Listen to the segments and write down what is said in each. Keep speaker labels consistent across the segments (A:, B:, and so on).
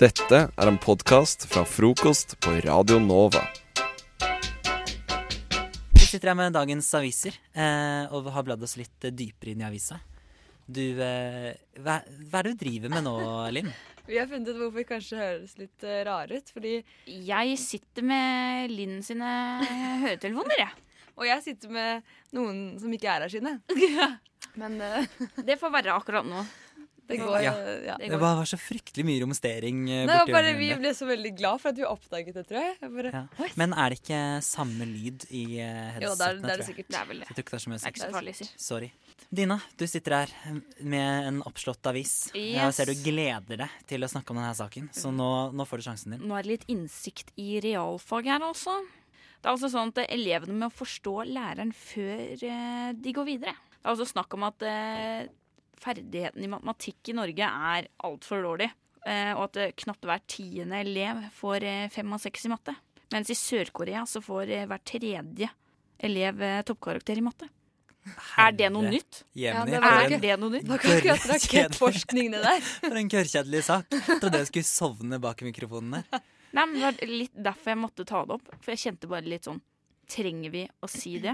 A: Dette er en podkast fra frokost på Radio Nova.
B: Vi sitter her med dagens aviser eh, og har bladd oss litt eh, dypere inn i avisa. Du, eh, hva, hva er det du driver med nå, Linn?
C: Vi har funnet ut hvorfor vi kanskje høres litt eh, rare ut. Fordi,
D: Jeg sitter med Linn sine høretelefoner, Eh, jeg.
C: og jeg sitter med noen som ikke er her sine. Men eh,
D: Det får være akkurat nå.
C: det går.
B: Ja.
C: eh, ja.
D: Det
B: Det
D: går.
B: var, var så fryktelig mye romstering eh,
C: Nei, det var
B: borti
C: bare,
B: hjørnet
C: vi
B: mitt.
C: ble så veldig glad for at vi oppdaget det, tror jeg. jeg bare,
B: Ja. Men er det ikke samme lyd i eh,
C: jo, det er,
B: headsetene,
C: det er
B: tror
C: det
B: jeg?
C: sikkert.
D: Det er vel det.
B: Jeg tror ikke det er så mye å
D: Det
B: si.
D: er ikke så farlig, si.
B: Sorry. Dina, du sitter her med en oppslått avis. Jeg
D: Yes.
B: ser du gleder deg til å snakke om denne saken, så
C: Mm.
B: nå, nå får du sjansen din.
D: Nå er det litt innsikt i realfag her, altså. Det er altså sånn at eh, elevene må forstå læreren før eh, de går videre. Det er altså snakk om at eh, ferdigheten i matematikk i Norge er altfor dårlig. Eh, og at eh, knapt hver tiende elev får eh, fem av seks i matte. Mens i Sør-Korea så får eh, hver tredje elev eh, toppkarakter i matte. Er det noe
B: Herre
D: nytt?
B: Jevni,
C: Ja, det var
D: Er
B: for, en,
D: det noe nytt?
C: Det var ikke akkurat
B: Kjedelig.
C: rakettforskning, det der.
B: for en kørrkjedelig sak. Jeg trodde jeg skulle sovne bak mikrofonen der.
D: Nei, men det var litt derfor jeg måtte ta det opp. For jeg kjente bare litt sånn Trenger vi å si det?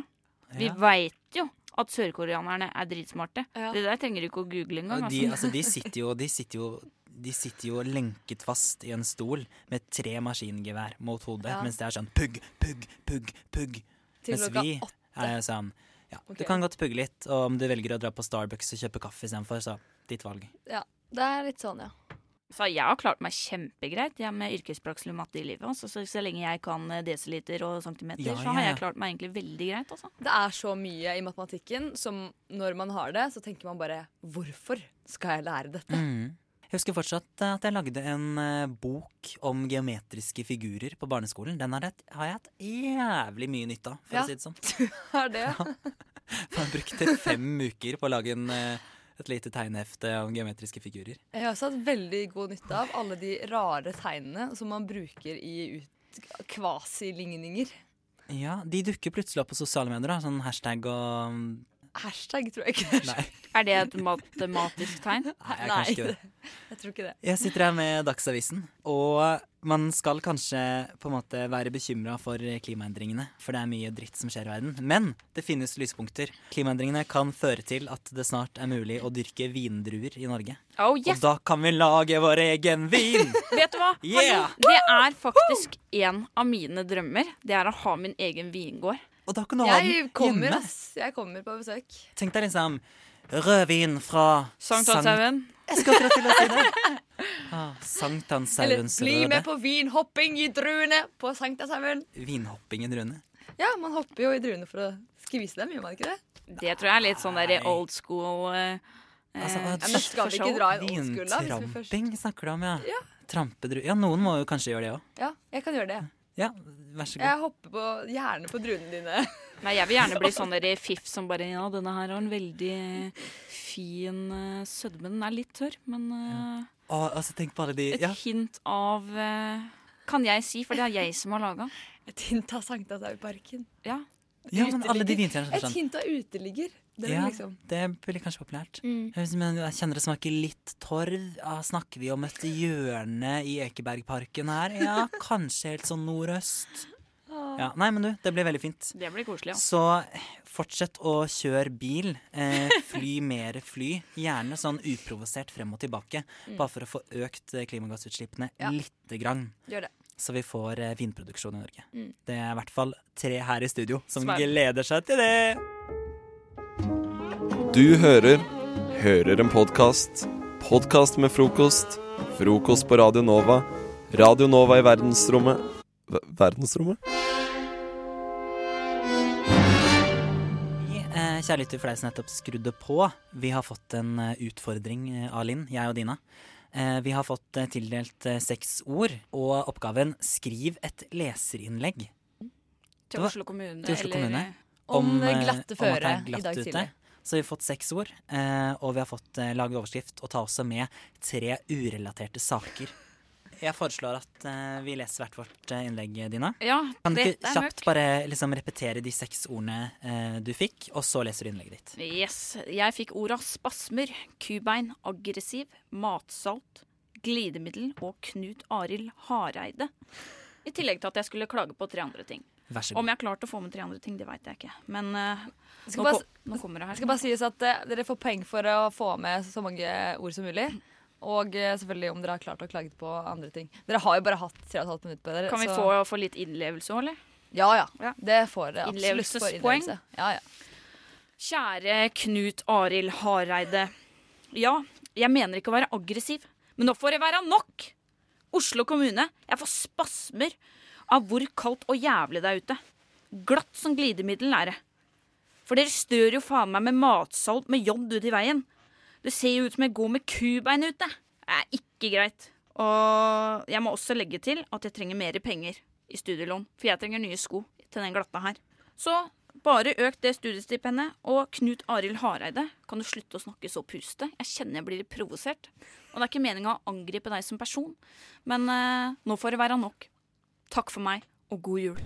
D: Vi
B: Ja.
D: veit jo at sørkoreanerne er dritsmarte.
C: Ja.
D: Det der trenger du ikke å google engang.
B: Og de,
D: Altså.
B: altså, de, sitter jo, de, sitter jo, de sitter jo lenket fast i en stol med tre maskingevær mot hodet,
C: Ja.
B: mens det er sånn pugg, pugg, pugg, pugg.
C: Til
B: mens
C: klokka
B: vi
C: åtte.
B: er jo sånn ja,
C: Ok.
B: Du kan godt pugge litt, og om du velger å dra på Starbucks og kjøpe kaffe istedenfor, så ditt valg.
C: Det er litt sånn, ja.
D: Så jeg har klart meg kjempegreit jeg med yrkespraksis og matte i livet. Altså. Så, så lenge jeg kan eh, desiliter og centimeter,
B: Ja, ja,
D: så har
B: ja.
D: jeg klart meg egentlig veldig greit. Altså.
C: Det er så mye i matematikken som når man har det, så tenker man bare Hvorfor skal jeg lære dette?
B: Mm. Jeg husker fortsatt eh, at jeg lagde en eh, bok om geometriske figurer på barneskolen. Den har jeg, har jeg hatt jævlig mye nytte av, for
C: Ja.
B: å si det sånn.
C: Er det?
B: For jeg brukte fem uker på å lage en, eh, et lite tegnehefte om geometriske figurer.
C: Jeg har også hatt veldig god nytte av alle de rare tegnene som man bruker i ut kvasiligninger.
B: Ja, De dukker plutselig opp på sosiale medier, da. Sånn hashtag og mm,
C: Hashtag tror jeg ikke det er.
B: Nei,
D: Er det et matematisk tegn?
B: nei jeg, kanskje ikke det.
C: Jeg tror ikke det.
B: jeg sitter her med Dagsavisen, og man skal kanskje på en måte være bekymra for klimaendringene, for det er mye dritt som skjer i verden. Men det finnes lyspunkter. Klimaendringene kan føre til at det snart er mulig å dyrke vindruer i Norge.
D: Oh, yes!
B: Og da kan vi lage vår egen vin!
D: Vet du hva?
B: Yeah!
D: Hallo, Det er faktisk en av mine drømmer. Det er å ha min egen vingård.
B: Og da kan du ha
C: Jeg
B: den
C: kommer,
B: hjemme.
C: ass. Jeg kommer på besøk.
B: Tenk deg liksom rødvin fra
D: Sankthanshaugen.
B: Jeg skal akkurat til å si det. Ah,
C: Eller
B: Sankthanshaugens
C: bli
B: røde.
C: med på vinhopping i druene på Sankthanshaugen.
B: Vinhoppingen Rune.
C: Ja, man hopper jo i druene for å skvise dem, gjør man ikke det?
D: Det tror jeg er litt sånn der
B: Nei.
D: old school eh,
B: Altså,
D: eh,
B: at-
C: Ja, men skal vi ikke dra i old school, da? Hvis vi først
B: Vintramping snakker du om, ja. Trampedru... Ja, noen må jo kanskje gjøre det òg.
C: Ja, jeg kan gjøre det.
B: Ja, vær så god.
C: Jeg hopper på, gjerne på druene dine.
D: Nei, jeg vil gjerne bli sånn der i fiff som bare Ja, denne her har en veldig fin eh, sødme. Den er litt tørr, men eh,
B: Og, altså, tenk på alle de
D: et
B: ja.
D: hint av eh, Kan jeg si, for det er jeg som har laga.
C: Et hint av Sankthanshauparken.
D: Ja.
B: ja, men alle de
C: uteligger.
B: vintrærne som er
C: Et
B: sånn.
C: hint av uteligger. Det er
B: Ja,
C: liksom
B: det blir kanskje populært. Men jeg kjenner det smaker litt torv. Ja, snakker vi om et hjørne i Ekebergparken her? Ja, kanskje helt sånn nordøst. Ja, Nei, men du, det blir veldig fint.
D: Det blir koselig, ja.
B: Så fortsett å kjøre bil. Eh, fly mer fly. Gjerne sånn uprovosert frem og tilbake. Bare for å få økt eh, klimagassutslippene
C: Ja.
B: lite grann.
C: Gjør det.
B: Så vi får eh, vinproduksjon i Norge. Det er i hvert fall tre her i studio som
D: Svar.
B: gleder seg til det.
A: Du hører Hører en podkast. Podkast med frokost. Frokost på Radio Nova. Radio Nova i verdensrommet Ver- Verdensrommet?
B: Eh, Kjære lytter, for deg som nettopp skrudde på. Vi har fått en eh, utfordring eh, av Linn, jeg og Dina. Eh, Vi har fått eh, tildelt eh, seks ord, og oppgaven 'Skriv et leserinnlegg'.
D: Til Oslo kommune.
B: til Oslo
D: eller-
B: kommune.
C: Om,
B: eh,
C: glatte
B: om at det
C: føre
B: er glatt
C: i dag
B: ute.
C: tidlig.
B: Så vi har fått seks ord, eh, og vi har fått eh, laget overskrift og ta også med tre urelaterte saker. Jeg foreslår at eh, vi leser hvert vårt eh, innlegg, Dina.
D: Ja,
B: Kan du
D: dette
B: ikke
D: er
B: kjapt
D: mørkt.
B: bare liksom repetere de seks ordene eh, du fikk, og så leser du innlegget ditt?
D: Yes. Jeg fikk orda spasmer, kubein, aggressiv, matsalt, glidemiddel og Knut Arild Hareide. I tillegg til at jeg skulle klage på tre andre ting.
B: Vær så
D: Om
B: god.
D: jeg har klart å få med tre andre ting, det veit jeg ikke. Men eh,
C: Det
D: nå,
C: skal, bare,
D: ko nå kommer det
C: det
D: her.
C: skal bare sies at eh, dere får poeng for å få med så mange ord som mulig. Og eh, selvfølgelig om dere har klart å klage på andre ting. Dere har jo bare hatt tre og et halvt minutt på dere.
D: Kan vi
C: så-
D: få, få litt innlevelse òg, eller?
C: Ja, ja.
D: Ja.
C: Det får dere absolutt. for
D: Innlevelsespoeng.
C: innlevelse. Ja, ja.
D: Kjære Knut Arild Hareide. Ja, jeg mener ikke å være aggressiv, men nå får det være nok! Oslo kommune, jeg får spasmer av hvor kaldt og jævlig det er ute. Glatt som glidemiddel er det. For dere stør jo faen meg med matsalt med jod ut i veien. Det ser jo ut som jeg går med kubein ute. Det er ikke greit. Og jeg må også legge til at jeg trenger mer penger i studielån, for jeg trenger nye sko til den glatta her. Så bare øk det studiestipendet, og Knut Arild Hareide, kan du slutte å snakke så puste? Jeg kjenner jeg blir provosert. Og det er ikke meninga å angripe deg som person, men eh, nå får det være nok. Takk for meg, og god jul.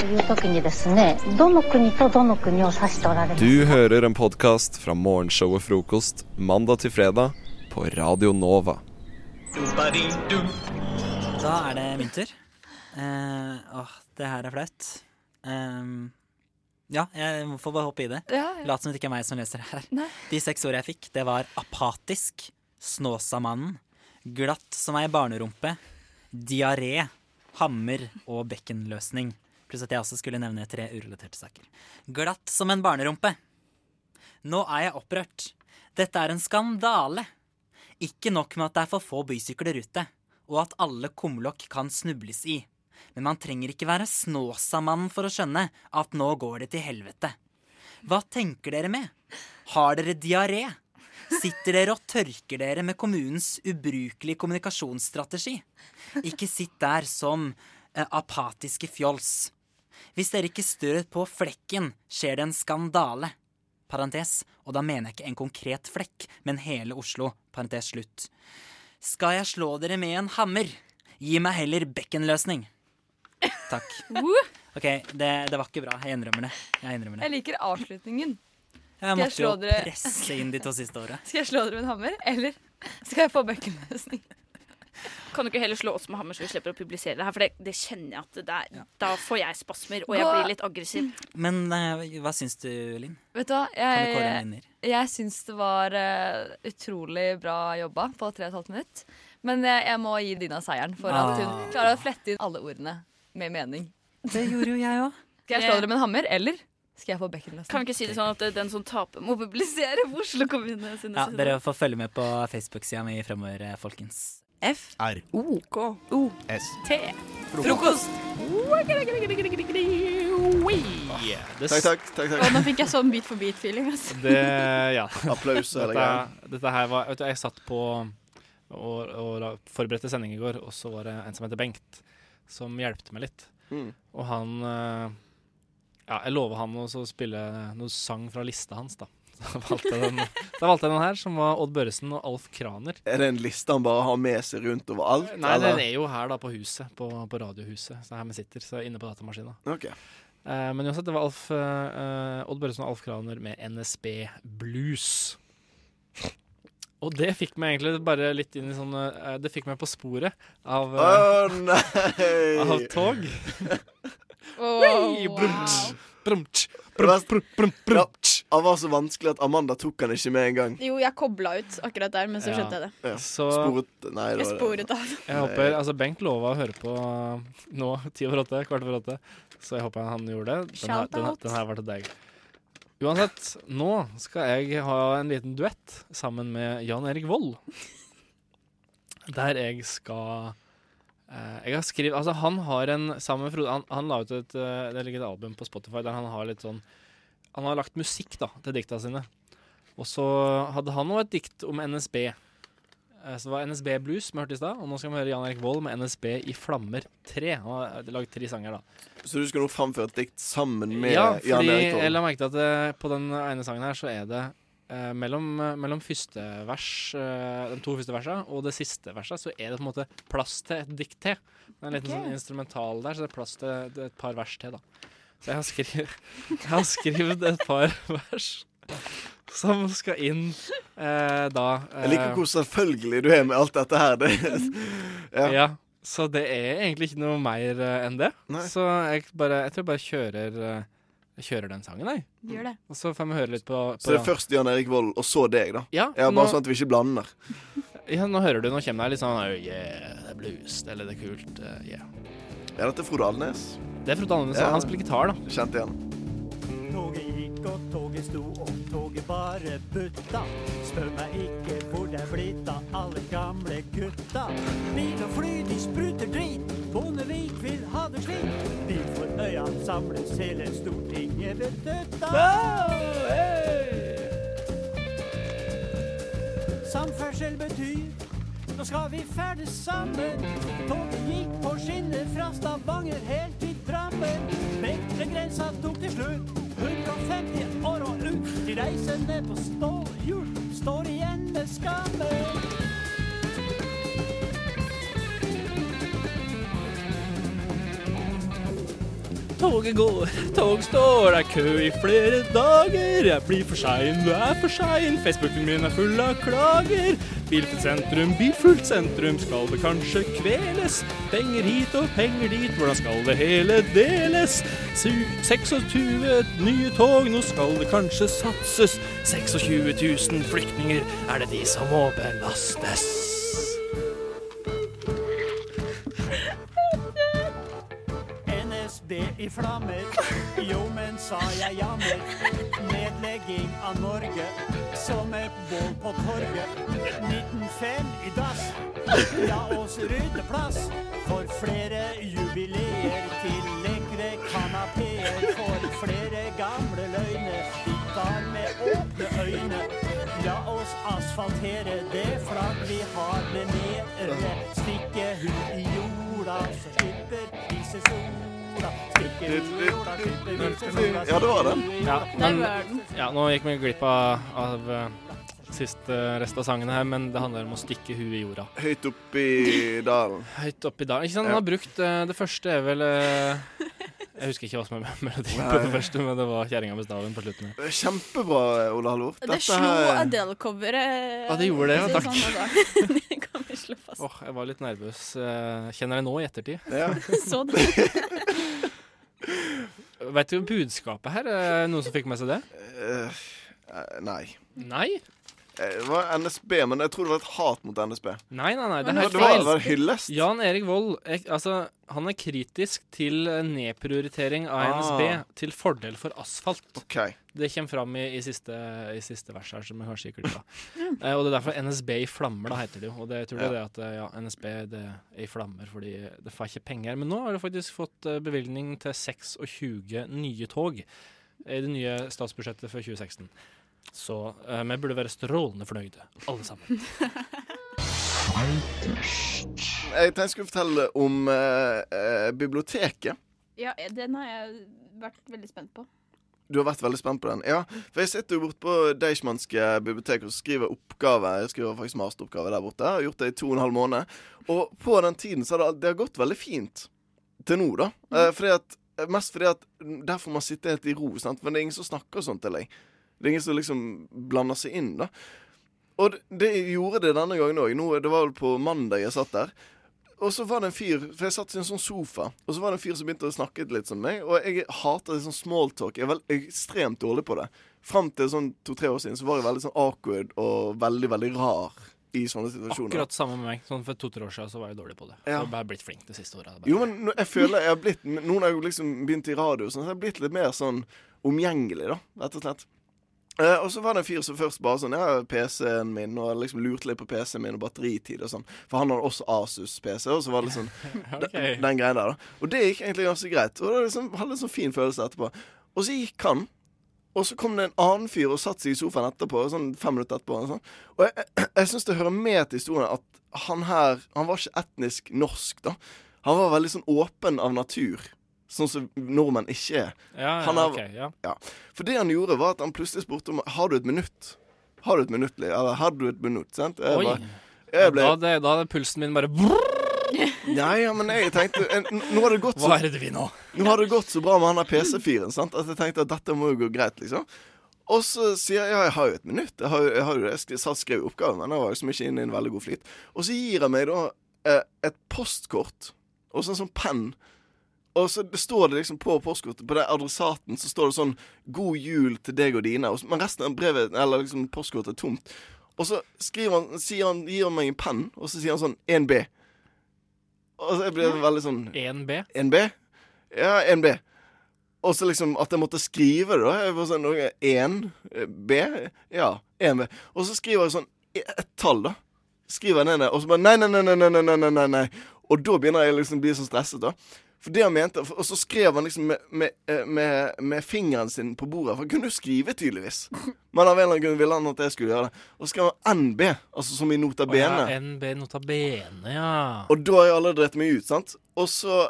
E: という時にですねどの国とどの国を指しておられる
A: Du hører en podkast fra morgenshowet Frokost mandag til fredag på Radio Nova.
B: Da er det min tur. Eh, åh, det her er flaut. Ehm, ja, jeg får bare hoppe i det.
C: Ja, ja.
B: Lat som det ikke er meg som leser det her.
C: Nei.
B: De seks ordene jeg fikk, det var apatisk, Snåsamannen, glatt som ei barnerumpe, diaré, hammer og bekkenløsning. Pluss at jeg også skulle nevne tre urelaterte saker. Glatt som en barnerumpe. Nå er jeg opprørt. Dette er en skandale. Ikke nok med at det er for få bysykler ute, og at alle kumlokk kan snubles i. Men man trenger ikke være Snåsamannen for å skjønne at nå går det til helvete. Hva tenker dere med? Har dere diaré? Sitter dere og tørker dere med kommunens ubrukelige kommunikasjonsstrategi? Ikke sitt der som eh, apatiske fjols. Hvis dere ikke stør på flekken, skjer det en skandale. Parentes, og da mener jeg ikke en konkret flekk, men hele Oslo. Parentes slutt. Skal jeg slå dere med en hammer? Gi meg heller bekkenløsning. Takk. OK, det, det var ikke bra. Jeg innrømmer det. Jeg innrømmer det.
C: Jeg liker avslutningen.
B: Jeg
C: Skal jeg
B: måtte jo
C: slå dere-
B: presse inn de to siste åra.
C: Skal jeg slå dere med en hammer, eller skal jeg få bekkenløsning?
D: Kan du ikke heller slå oss med hammer, så vi slipper å publisere det her? For det, det kjenner jeg at det er. Da får jeg spasmer, og jeg
C: Gå-
D: blir litt aggressiv.
B: Men eh, hva syns du, Linn?
C: Vet du hva,
B: Kan du kåre
C: jeg,
B: en vinner?
C: jeg syns det var eh, utrolig bra jobba på tre og et halvt minutt. Men jeg, jeg må gi Dina seieren for at hun
B: Ah.
C: klarer å flette inn alle ordene med mening.
B: Det gjorde jo jeg òg.
C: Skal jeg slå dere med en hammer, eller skal jeg få
D: Kan vi
C: bekkenløsning?
D: ikke si det sånn at eh, den som taper, må publisere på Oslo kommune sine
B: Ja,
D: sider?
B: dere får følge med på Facebook-sida mi fremover, eh, folkens. F.
F: R
B: Frokost!
G: Takk, takk. takk,
H: Og
G: takk.
H: nå fikk jeg sånn bit for bit-feeling. Altså.
F: Det Ja.
G: Applaus og hele
F: Dette,
G: greia.
F: dette her var Vet du, jeg satt på og, og la- forberedte sending i går, og så var det en som heter Bengt, som hjalp meg litt.
G: Mm.
F: Og han eh, Ja, jeg lover han å så spille noe sang fra lista hans, da. Så da valgte jeg den, da valgte jeg den her, som var Odd Børresen og Alf Kraner.
G: Er det en liste han bare har med seg rundt overalt?
F: Nei, den
G: eller?
F: er jo her, da, på huset. På, på Radiohuset. Så her vi sitter. Så inne på datamaskina.
G: Ok.
F: Eh, men uansett, det var Alf, eh, Odd Børresen og Alf Kraner med NSB Blues. Og det fikk meg egentlig bare litt inn i sånn eh, Det fikk meg på sporet av,
G: Å
F: eh, av
G: nei!
F: tog.
H: Wow.
F: Brum, tsk,
G: Det
F: brum,
G: var-
F: brum, brum, brum,
G: Ja.
F: tsk.
G: Han var så vanskelig at Amanda tok han ikke med en gang.
H: Jo, jeg kobla ut akkurat der, men så
F: Ja.
H: skjønte jeg det.
G: Ja.
F: Så
G: Sporet Nei,
H: Jeg
G: det var det.
H: sporet av.
F: jeg håper Altså, Bengt lova å høre på eh, nå, ti over åtte, kvart over åtte, så jeg håper han gjorde det. Den her, den, her- den her var til deg. Uansett, nå skal jeg ha en liten duett sammen med Jan Erik Vold. Der jeg skal eh, Jeg har skrevet Altså, han har en Sammen med Frode Han, han la ut et eh, Det ligger et album på Spotify der han har litt sånn Han har lagt musikk, da, til dikta sine. Og så hadde han òg et dikt om NSB. Eh, Så det var NSB Blues som vi hørte i stad, og nå skal vi høre Jan Erik Vold med NSB i Flammer 3. Han har eh, lagd tre sanger, da
G: Så du skal nå framføre et dikt sammen med
F: ja,
G: Jan
F: fordi
G: Erik
F: jeg
G: Vold?
F: la merke til at eh, på den ene sangen her så er det eh, mellom, mellom første vers, eh, de to første versene og det siste verset, så er det på en måte plass til et dikt til. Det er en liten sånn instrumental der, så det er plass til et- et par vers til, da. Så jeg har skrevet, jeg har skrevet et par vers. som skal inn eh, da eh,
G: Jeg liker hvor selvfølgelig du er med alt dette her. Det.
F: ja.
G: Ja.
F: Så det er egentlig ikke noe mer eh, enn det.
G: Nei.
F: Så jeg, bare, jeg tror jeg bare kjører, eh, jeg kjører den sangen, jeg.
H: Gjør det.
F: Og så får vi høre litt på, på
G: Så det er først Jan Erik Vold, og så deg, da.
F: ja,
G: Ja,
F: nå-
G: Bare sånn at vi ikke blander.
F: Ja, nå hører du, nå kommer det litt sånn oh, Yeah, det er blues, eller det er kult. eh, yeah.
G: Ja, dette er Frode Alnes.
F: Det er Frode Alnes,
G: Ja.
F: han spiller gitar, da.
G: Kjent igjen.
I: Toget gikk og toget sto og toget bare butta. Spør meg ikke hvor det er blitt av alle gamle gutta. Bil og fly, de spruter drit. Bondevik vil ha det slik. Vi for øya samles hele Stortinget ved døtta. Samferdsel betyr nå skal vi ferdes sammen. Toget gikk på skinner fra Stavanger helt til Drammen. Vektergrensa tok til slutt. 150 år og ut. De reisende på stålhjul står igjen med skammen.
F: Toget går, tog står, det er kø i flere dager. Jeg blir for sein, du er for sein. Facebooken min er full av klager. Bilfullt sentrum, bilfullt sentrum, skal det kanskje kveles? Penger hit og penger dit, hvordan skal det hele deles? Su- 26 nye tog, nå skal det kanskje satses. 26 000 flyktninger, er det de som må belastes?
I: NSB i flammer. Jo, men sa jeg jammer. Nedlegging av Norge som et bål på torget. 1905 i dass. La oss rydde plass for flere jubileer til lekre kanapeer. For flere gamle løgner vi tar med åpne øyne. La oss asfaltere det flagg vi har med mere. Stikke hull i jorda, så slipper vi se sola. Stikke hull i jorda, slipper vi se sola.
G: Ja, det var den.
F: Ja,
H: Der
F: men
H: var den.
F: Ja, nå gikk vi glipp av, av eh, siste rest av sangen her, men det handler om å stikke huet i jorda.
G: Høyt oppi dalen.
F: Høyt oppi der. Ikke sant, han har brukt eh, Det første er vel eh, Jeg husker ikke hva som er me- melodien på det første, men det var kjerringa med staven på slutten. her.
G: Kjempebra, Ole Halvor.
H: Det
G: Dette
H: slo
G: her-
H: Adele-coveret.
F: Ja, det gjorde det, ja,
H: Så
F: takk.
H: sånn, altså. det kan vi slå
F: Åh,
H: fast.
F: jeg var litt nervøs. eh, kjenner jeg nå i ettertid.
G: Ja.
H: Så det.
F: Veit du budskapet her? Eh, noen som fikk med seg det?
G: Eh, eh, nei.
F: Nei?
G: Eh, Det var NSB, men jeg tror det var et hat mot NSB.
F: Nei, nei, nei. Det
H: Men
F: er
G: Det
F: helt
G: var, det
F: feil.
G: var en hyllest.
F: Jan Erik Vold ek, altså, han er kritisk til eh, nedprioritering av
G: Ah.
F: NSB til fordel for asfalt.
G: OK.
F: Det kommer fram i, i, siste, i siste vers her, som jeg kanskje ikke klipper. Eh, og det er derfor NSB i flammer, da, heter det jo. Og det tror
G: Ja.
F: jeg det at eh, ja, NSB det er i flammer fordi det får ikke penger. Men nå har det faktisk fått eh, bevilgning til 26 nye tog i det nye statsbudsjettet for 2016. Så eh, vi burde være strålende fornøyde, alle sammen.
G: Jeg tenkte jeg skulle fortelle om eh, eh, biblioteket.
H: Ja, den har jeg vært veldig spent på.
G: Du har vært veldig spent på den. Ja, for jeg sitter jo borte på Deichmanske bibliotek og skriver oppgave. Jeg skriver faktisk masteroppgave der borte. Jeg har gjort det i to og en halv måned. Og på den tiden så har det, det har gått veldig fint. Til nå, da. Eh, fordi at, mest fordi at der får man sitte helt i ro, sant? men det er ingen som snakker sånn til deg. Det er ingen som liksom blander seg inn, da. Og det, det gjorde det denne gangen òg. Det var vel på mandag jeg satt der. Og så var det en fyr For jeg satt i en sånn sofa, og så var det en fyr som begynte å snakke litt som meg. Og jeg hater det sånn smalltalk. Jeg er vel ekstremt dårlig på det. Fram til sånn to-tre år siden så var jeg veldig sånn awkward og veldig, veldig rar i sånne situasjoner.
F: Akkurat samme med meg. Sånn for to-tre år siden så var jeg dårlig på det. Jeg
G: Ja.
F: har bare blitt flink de siste åra.
G: Jo, men nå- jeg føler jeg har blitt Nå når jeg liksom begynte i radio, og sånn, så har jeg blitt litt mer sånn omgjengelig, da, rett og slett. Eh, og så var det en fyr som først bare sånn Ja, PC-en min, og liksom lurte litt på PC-en min og batteritid og sånn. For han hadde også Asus-PC, og så var det sånn den, den greia der, da. Og det gikk egentlig ganske greit. Og det liksom, hadde en sånn fin følelse etterpå. Og så gikk han. Og så kom det en annen fyr og satte seg i sofaen etterpå. Sånn fem minutter etterpå Og, sånn. og jeg, jeg, jeg syns det hører med til historien at han her Han var ikke etnisk norsk, da. Han var veldig sånn åpen av natur. Sånn som nordmenn ikke er.
F: ja,
G: han
F: ja,
G: har-
F: ok, ja.
G: For det han gjorde, var at han plutselig spurte om Har du et minutt. Har du et minutt, Liv? Eller har du et minutt? Sant? Jeg,
F: Oi.
G: bare, jeg ble
F: Da, det, da er pulsen min bare brrr,
G: Nei, ja, men jeg tenkte en- Nå har det gått så
F: Hva er det du vil nå?
G: Nå har det gått så bra med han der PC-fyren sant? at jeg tenkte at dette må jo gå greit, liksom. Og så sier jeg ja, jeg har jo et minutt. Jeg har, jo- jeg har jo det. Jeg skri- satt og skrev oppgaven, men jeg var liksom ikke inne i en veldig god flyt. Og så gir han meg da eh, et postkort og så en sånn penn. Og så det står det liksom på postkortet På den adressaten så står det sånn 'God jul til deg og dine', og så, men resten av brevet Eller liksom postkortet er tomt. Og så skriver han, sier han, gir han meg en penn, og så sier han sånn 1B. Og så jeg blir veldig sånn
F: 1B.
G: 1B? Ja, 1B. Og så liksom at jeg måtte skrive det, da. Jeg var sånn, ok, 1B? Ja, 1B. Og så skriver jeg sånn et tall, da. Skriver jeg ned det, og så bare nei, nei, nei, nei, nei, nei, nei, nei, nei. Og da begynner jeg liksom å bli sånn stresset, da. For det han mente, for- Og så skrev han liksom med, med, eh, med, med fingeren sin på bordet, for han kunne jo skrive, tydeligvis. Men av en eller annen grunn ville han at jeg skulle gjøre det. Og så skrev han NB, altså som i nota
F: Å ja,
G: bene.
F: NB nota bene, ja.
G: Og da har jeg allerede drett meg ut, sant? Og så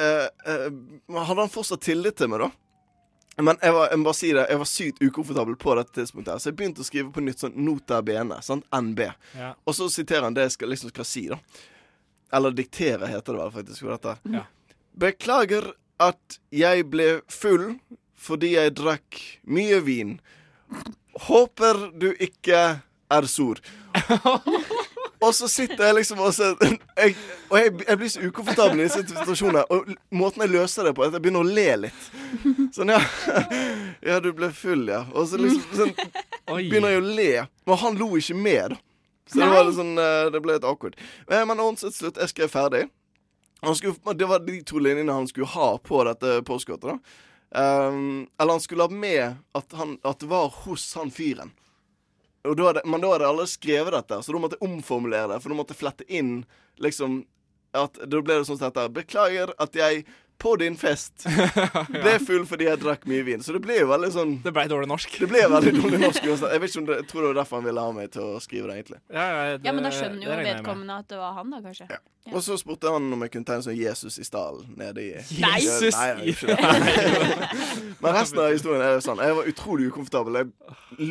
G: eh, eh, hadde han fortsatt tillit til meg, da. Men jeg var, jeg må bare si det, jeg var sykt ukomfortabel på dette tidspunktet, her, så jeg begynte å skrive på nytt sånn nota bene, sant? NB.
F: Ja.
G: Og så siterer han det jeg skal, liksom skal si, da. Eller diktere, heter det vel faktisk. for dette. her.
F: Ja.
G: Beklager at jeg ble full fordi jeg drakk mye vin. Håper du ikke er sur. Og så sitter jeg liksom og så, jeg, Og jeg, jeg blir så ukomfortabel i disse situasjonene. Og l- måten jeg løser det på, er at jeg begynner å le litt. Sånn, ja. Ja, du ble full, ja. Og så liksom sånn,
F: Oi.
G: begynner jeg å le. Men han lo ikke med, da. Så det, var litt sånn, eh, det ble litt awkward. Eh, Men ordentlig slutt. Jeg skrev ferdig. Han skulle, det var de to linjene han skulle ha på dette postkortet. da Ehm, Eller han skulle ha med at, han, at det var hos han fyren. Og da hadde, men da hadde jeg allerede skrevet dette, så da måtte jeg omformulere det. For da måtte jeg flette inn liksom at, Da ble det sånn som dette. Beklager at jeg på din fest ble full fordi jeg drakk mye vin. Så det ble jo veldig sånn
F: Det ble dårlig norsk.
G: det ble veldig dårlig norsk. uansett. Jeg, vet ikke om det, jeg tror det var derfor han ville ha meg til å skrive det. egentlig
F: Ja, ja, det-
H: Ja, men da skjønner
F: det
H: jo
F: regner jeg med.
H: vedkommende at det var han, da, kanskje. Ja.
G: Og så spurte han om jeg kunne tegne sånn Jesus i stallen nede i
F: Nei. Jesus
G: Nei,
F: i-
G: jeg gjør ikke det. Men resten av historien er jo sånn. Jeg var utrolig ukomfortabel. Jeg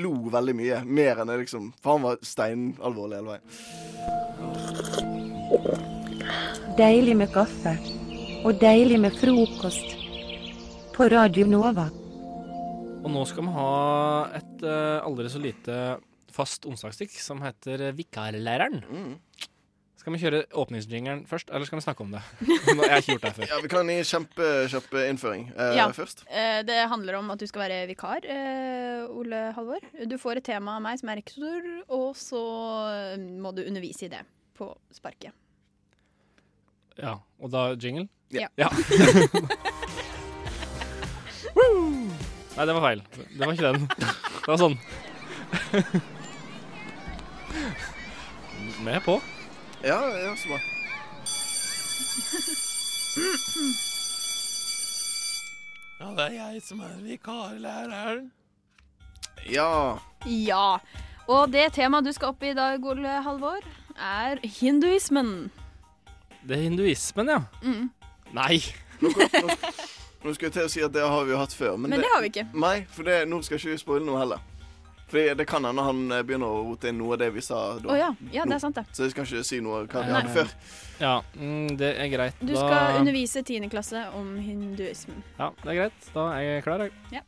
G: lo veldig mye. Mer enn jeg liksom For han var steinalvorlig hele veien.
E: Deilig med kaffe. Og deilig med frokost. På Radio Nova.
F: Og nå skal vi ha et eh, aldri så lite fast onsdagsstikk som heter eh, Vikarlæreren.
G: Mm.
F: Skal vi kjøre åpningsjingeren først, eller skal vi snakke om det? Nå- Jeg har ikke gjort det før.
G: Ja, Vi kan gi kjempekjapp innføring eh,
H: Ja.
G: først.
H: Eh, Det handler om at du skal være vikar, eh, Ole Halvor. Du får et tema av meg som er rektor, og så eh, må du undervise i det på sparket.
F: Ja, Og da jingle?
H: Ja.
F: Woo! Nei, det var feil. Det var ikke den. Det var sånn. Med på.
G: Ja, ja, så bra.
F: Ja, det er jeg som er vikarlæreren.
G: Ja.
H: Ja. Og det temaet du skal opp i i dag, Ole Halvor, er hinduismen.
F: Det er hinduismen, ja.
H: Mm.
F: Nei.
G: Nå, kom- nå, nå skulle jeg til å si at det har vi jo hatt før, men,
H: Men det har vi ikke.
G: Nei, for det, nå skal ikke vi spoile noe heller. Fordi det kan hende han eh, begynner å rote inn noe av det vi sa da.
H: Å ja. ja, det er sant, det.
G: Så jeg skal ikke si noe hva vi
F: Nei.
G: hadde før.
F: Ja, mm, det er greit.
H: Du
F: Da-
H: skal undervise 10. klasse om hinduismen.
F: Ja, det er greit. Da er jeg klar, jeg.
H: Ja.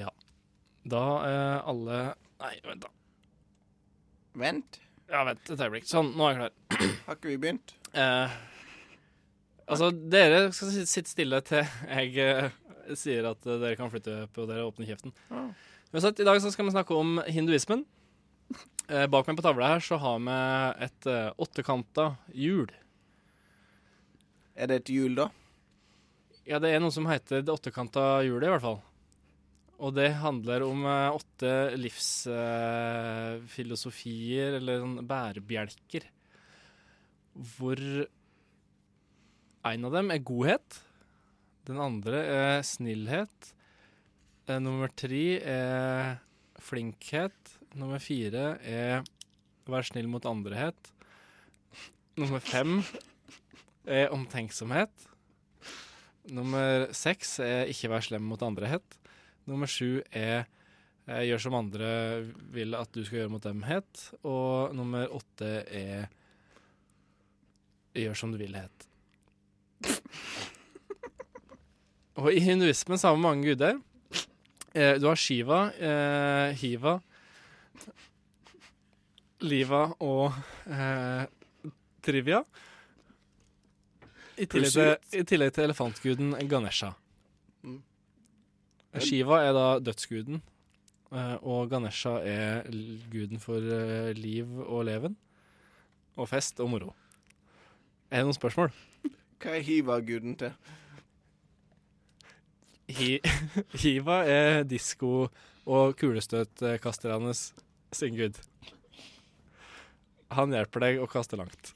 F: Ja. Da er alle Nei, vent, da.
G: Vent,
F: Ja, vent et øyeblikk. Sånn, nå er jeg klar.
G: har ikke vi begynt?
F: Eh, altså, dere skal sit- sitte stille til jeg eh, sier at eh, dere kan flytte på dere og åpne kjeften. Uansett, i dag så skal vi snakke om hinduismen. Eh, bak meg på tavla her så har vi et eh, åttekanta hjul.
G: Er det et hjul, da?
F: Ja, det er noe som heter Det åttekanta hjulet, i hvert fall. Og det handler om eh, åtte livsfilosofier, eller sånn bærebjelker, hvor en av dem er godhet, den andre er snillhet, eh, nummer tre er flinkhet, nummer fire er vær snill mot andrehet, nummer fem er omtenksomhet, Nummer seks er ikke vær slem mot andre het. Nummer sju er eh, gjør som andre vil at du skal gjøre mot dem het. Og nummer åtte er gjør som du vil het. Og i hinduismen så har vi mange guder. Eh, du har Shiva, eh, Hiva, Liva og eh, Trivia. I tillegg, til, I tillegg til elefantguden Ganesha. Eh,
G: Mm.
F: Shiva er da dødsguden, eh, og Ganesha er l- guden for eh, liv og leven. Og fest og moro. Er det noen spørsmål?
G: Hva er hiva-guden til?
F: Hi Hiva er disko- og kulestøtkasterne sin gud. Han hjelper deg å kaste langt.